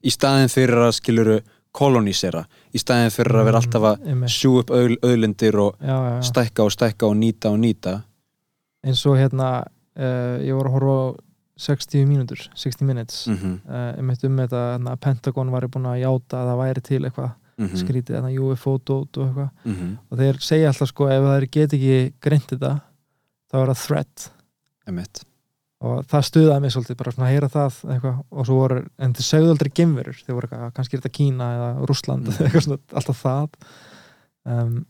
Speaker 1: í staðin fyrir að skiluru kolonísera, í staðin fyrir að vera alltaf að
Speaker 2: einmitt.
Speaker 1: sjú upp auð, auðlindir og
Speaker 2: Mm-hmm. já, já, já.
Speaker 1: stækka og stækka og nýta og nýta
Speaker 2: eins og hérna uh, ég var að horfa á 60 mínútur 60 minutes mm.
Speaker 1: mm -hmm.
Speaker 2: einmitt um þetta hérna, Pentagon var búin að játa að það væri til eitthvað
Speaker 1: Mhm.
Speaker 2: skrítið, þannig UFO dót og eitthvað
Speaker 1: mm -hmm.
Speaker 2: og þeir segja alltaf sko ef þeir get ekki greint þetta þá er það threat
Speaker 1: Emitt
Speaker 2: og það stuðaði mig svolítið bara svona að heyra það eitthvað og svo voru, en þeir segðu aldrei gemverur, þeir voru eitthvað, "Ah, kannski er þetta Kína eða Rússland
Speaker 1: Mhm.
Speaker 2: eða eitthvað svona, alltaf það um,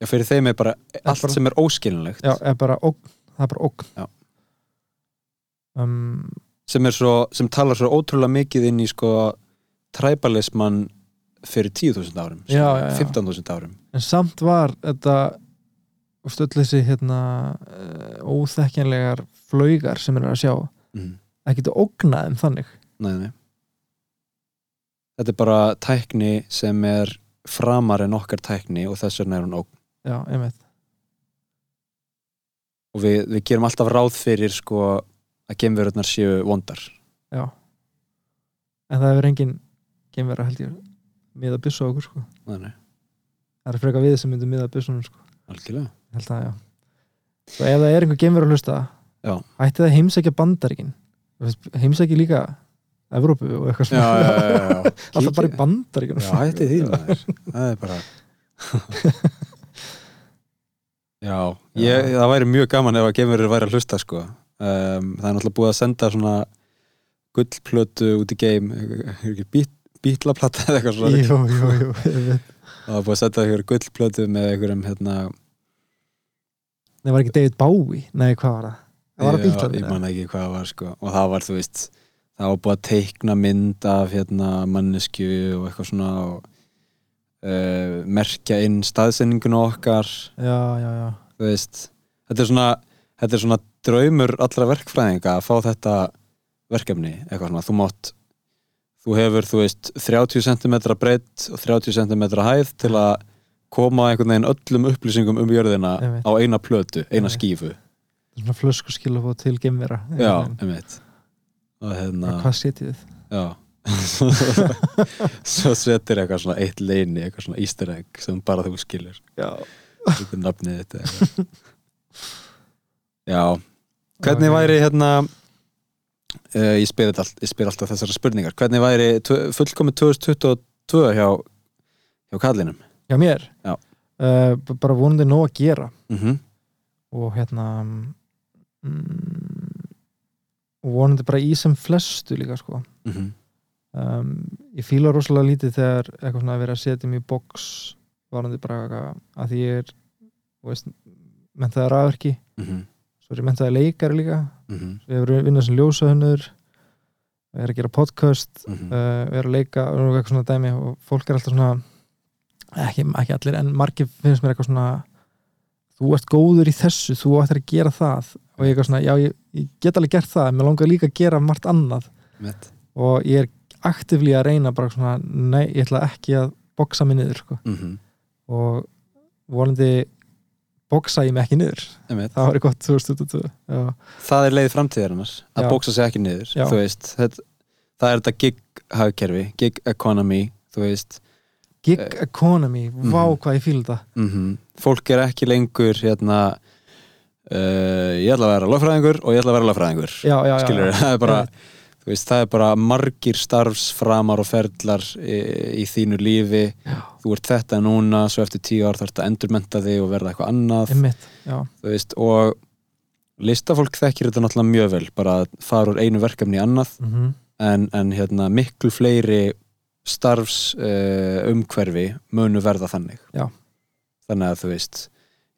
Speaker 1: Já, fyrir þeim er bara allt
Speaker 2: bara-
Speaker 1: sem er óskilinlegt
Speaker 2: já, er bara ógn, það er bara ógn
Speaker 1: Já.
Speaker 2: um,
Speaker 1: sem, er svo, sem talar svo ótrúlega mikið inn í sko træbalismann fyrir 10.000 árum
Speaker 2: Já, já, já.
Speaker 1: 15.000 árum
Speaker 2: en samt var þetta úst, öll þessi hérna uh, óþekkjanlegar flaugar sem er að sjá,
Speaker 1: mm.
Speaker 2: ekkert að ógna þeim þannig
Speaker 1: nei, nei. Þetta er bara tækni sem er framar en okkar tækni og þess vegna er hún ógn
Speaker 2: já, einmitt,
Speaker 1: og við, við gerum alltaf ráð fyrir sko að geimverurnar séu vondar
Speaker 2: já en það hefur engin gemvera held ég miða að byssa á okkur sko
Speaker 1: Nei, nei,
Speaker 2: það er frekar við sem myndum miða að byssunum sko.
Speaker 1: algjörlega
Speaker 2: Ég held að já og ef það er einhver geimur að hlusta
Speaker 1: Já.
Speaker 2: ætti það heimsækja bandaríkin heimsækja líka Evrópu og eitthvað svona
Speaker 1: já, já.
Speaker 2: alltaf bara í sko. bandaríkin
Speaker 1: Já, hætti því maður Það er bara Já, ég, það væri mjög gaman ef að geimverur væri að hlusta sko um, Það er náttúrulega búið að senda svona gullplötu út í geim bít, bítlaplata eða eitthvað svona
Speaker 2: jú, jú, jú, einmitt.
Speaker 1: og það er búið að senda ykkur gullplötu með einhverjum hérna
Speaker 2: Nei, var ekki David Bowie nei, hvað var það? Það var að
Speaker 1: Já,
Speaker 2: bíltaðin
Speaker 1: Ég man ekki hvað það var sko og það var þú veist það var búið að teikna mynd af hérna mannesku og eitthvað svona og uh, merkja inn staðsendinguna okkar
Speaker 2: já, já, já,
Speaker 1: þú veist þetta er svona, þetta er svona draumur allra verkfræðinga að fá þetta verkefni eitthvað svona þú mátt þú hefur þú veist 30 cm breytt og 30 cm hæð til að koma einhvern veginn öllum upplýsingum um jörðina
Speaker 2: Einmitt.
Speaker 1: á eina plötu, eina
Speaker 2: Einmitt.
Speaker 1: skífu
Speaker 2: svona flösku skilafóð til geimvera
Speaker 1: Já,
Speaker 2: Einmitt.
Speaker 1: einmitt og
Speaker 2: Bara,
Speaker 1: hérna
Speaker 2: hvað setið þið?
Speaker 1: já. svo setir eitthvað svona eitt leini, eitthvað svona easter egg sem bara þú skilur,
Speaker 2: já,
Speaker 1: þetta er nafnið þetta eitthvað. já, hvernig væri hérna uh, ég, spyr þetta allt, ég spyr alltaf þessara spurningar hvernig væri tvö- fullkomið 2022 hjá, hjá kallinum
Speaker 2: já, mér
Speaker 1: Já.
Speaker 2: Eh, b- bara vonandi nóg að gera
Speaker 1: mm
Speaker 2: og hérna mm, og vonandi bara í sem flestu líka sko
Speaker 1: Mhm.
Speaker 2: um, ég fíla rosalega lítið þegar eitthvað svona að vera að setja mig í box varandi bara eitthvað að því ég er þú veist, mentaði rafverki
Speaker 1: Mhm.
Speaker 2: svo er ég mentaði leikari líka svo ég er að vinna sem ljósahönnur ég er að gera podcast
Speaker 1: Mhm.
Speaker 2: uh, er að leika og eitthvað svona dæmi og fólk er alltaf svona ekki, ekki allir en margir finnst mér eitthvað svona þú ert góður í þessu, þú ættir að gera það og ég eitthvað svona, já ég, ég get alveg gert það en mér langar líka að gera margt annað og ég er aktivlí að reyna bara svona, nei, ég ætla ekki að boksa mig niður, sko
Speaker 1: Mhm.
Speaker 2: og vonandi boksa ég mig ekki niður,
Speaker 1: einmitt
Speaker 2: það var gott 2022, já,
Speaker 1: það er leið framtíðarinnar að
Speaker 2: Já.
Speaker 1: bóksa sig ekki niður
Speaker 2: Já.
Speaker 1: þú veist, þetta, það er þetta gig hagkerfi, gig economy þú veist,
Speaker 2: gig economy vá
Speaker 1: Mhm.
Speaker 2: hvað ég fíl þetta
Speaker 1: mm fólk er ekki lengur hérna uh, ég ætla að vera lögfræðingur og ég ætla að vera lögfræðingur
Speaker 2: já, já, já,
Speaker 1: skilur,
Speaker 2: já.
Speaker 1: það er bara þú veist, það er bara margir starfsframar og ferlar í, í þínu lífi
Speaker 2: Já.
Speaker 1: þú ert þetta núna, svo eftir tíu ár þarf þetta að endurmenta þig og verða eitthvað annað
Speaker 2: einmitt, já,
Speaker 1: þú veist, og listafólk þekkir þetta náttúrulega mjög vel bara að fara úr einu verkefni í annað
Speaker 2: mhm
Speaker 1: en, en hérna, miklu fleiri starfs uh, umhverfi munu verða þannig
Speaker 2: Já.
Speaker 1: þannig að þú veist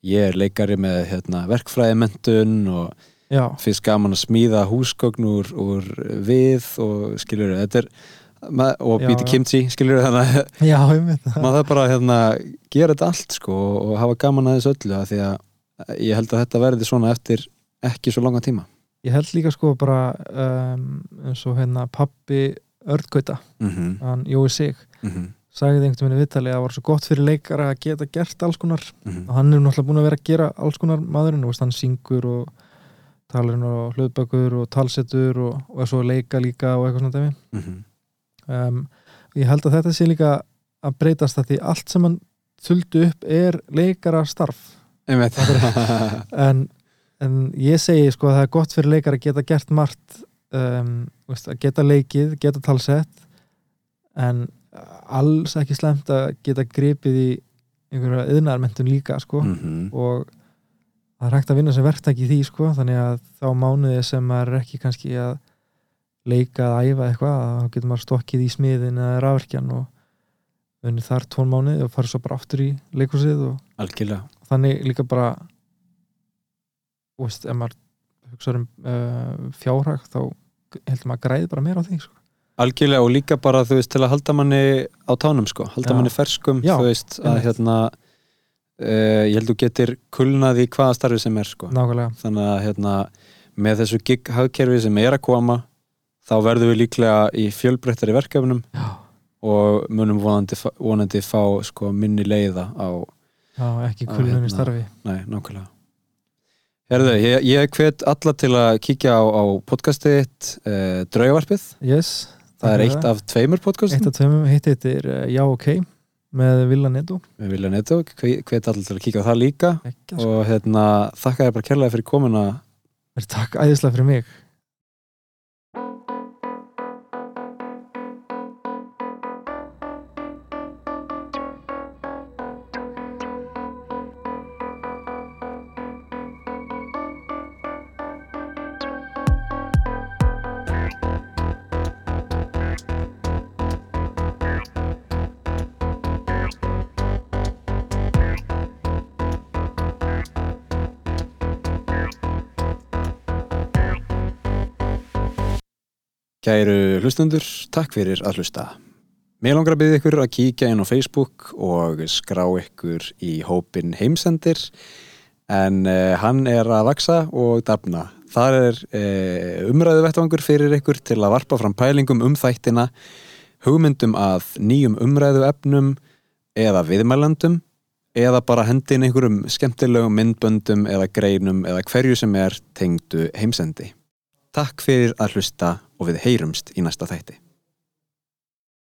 Speaker 1: ég er leikari með hérna, verkfræðimentun og
Speaker 2: já,
Speaker 1: finnst gaman að smíða húsgögn úr, úr við og skilur þetta er ma- og
Speaker 2: Já,
Speaker 1: býti
Speaker 2: já.
Speaker 1: kimchi skilur þannig að
Speaker 2: já, einmitt
Speaker 1: maður það bara hérna, gera þetta allt sko og hafa gaman að þessu öllu af því að ég held að þetta verði svona eftir ekki svo langan tíma
Speaker 2: ég held líka sko bara um, eins og hérna pappi Örgauta,
Speaker 1: mm -hmm.
Speaker 2: hann Jói Sig
Speaker 1: Mm -hmm.
Speaker 2: sagði einhvern veginn í viðtali að það var svo gott fyrir leikara að geta gert alls konar
Speaker 1: Mm. Mhm.
Speaker 2: og hann er náttúrulega búin að vera að gera alls konar maðurinn, þú veist, hann syngur og talarinn og hlutbökur og talsettur og, og svo leika líka og eitthvað svona dæmi
Speaker 1: Mhm.
Speaker 2: um, ég held að þetta sé líka að breytast að því allt sem hann þuldu upp er leikara starf
Speaker 1: einmitt
Speaker 2: en en ég segi sko að það er gott fyrir leikar að geta gert margt um, þú veist, að geta leikið, geta talsett en alls ekki slemt að geta gripið í einhverja yðnarmentun líka sko
Speaker 1: Mhm.
Speaker 2: og það er hægt að vinna sem verktæki í því sko þannig að þá mánuði sem maður er ekki kannski að leika að æfa eitthvað þá getur maður stokkið í smiðin eða rafverkjan og unni þar tón mánuði og farið svo bara aftur í leikhúsið og
Speaker 1: algjörlega
Speaker 2: þannig líka bara þú veist, ef maður hugsaður um uh, fjárhag þá heldur maður að græði bara meira á því sko.
Speaker 1: algjörlega og líka bara þú veist til að halda manni á tánum sko, halda
Speaker 2: Já.
Speaker 1: manni ferskum
Speaker 2: Já,
Speaker 1: þú veist að
Speaker 2: einmitt.
Speaker 1: hérna uh, ég held þú getir kulnað í hvaða starfi sem er sko,
Speaker 2: nákvæmlega,
Speaker 1: þannig að hérna með þessu gig hagkerfi sem er að koma þá verðum við líklega í fjölbreyttari verkefnum
Speaker 2: já,
Speaker 1: og munum vonandi, fa- vonandi fá sko minni leiða á,
Speaker 2: já ekki
Speaker 1: Já,
Speaker 2: kulunum
Speaker 1: hérna.
Speaker 2: í starfi
Speaker 1: nei, nákvæmlega Herðu, ég, ég hvet alla til að kíkja á, á podcastið þitt, uh, Draugavarpið
Speaker 2: yes,
Speaker 1: það er
Speaker 2: takk fyrir
Speaker 1: eitt af tveimur podcastum
Speaker 2: eitt af tveimum, hitt eitt er uh, Já ok með Villa Neto
Speaker 1: við vilja netta og hvet allir til að kíka á það líka
Speaker 2: Ekki,
Speaker 1: og hérna, þakka þér bara kærlega fyrir komuna
Speaker 2: sko. takk æðislega fyrir mig
Speaker 1: Kæru hlustendur, takk fyrir að hlusta Mér langar að byggja ykkur að kíkja inn á Facebook og skrá ykkur í hópin heimsendir en eh, hann er að vaksa og dafna. Þar er eh, umræðu vettvangur fyrir ykkur til að varpa fram pælingum um þættina hugmyndum að nýjum umræðu efnum eða viðmælandum eða bara hendin einhverjum skemmtilegum myndböndum eða greinum eða hverju sem er tengdu heimsendi. Takk fyrir að hlusta og við heyrumst í næsta þætti.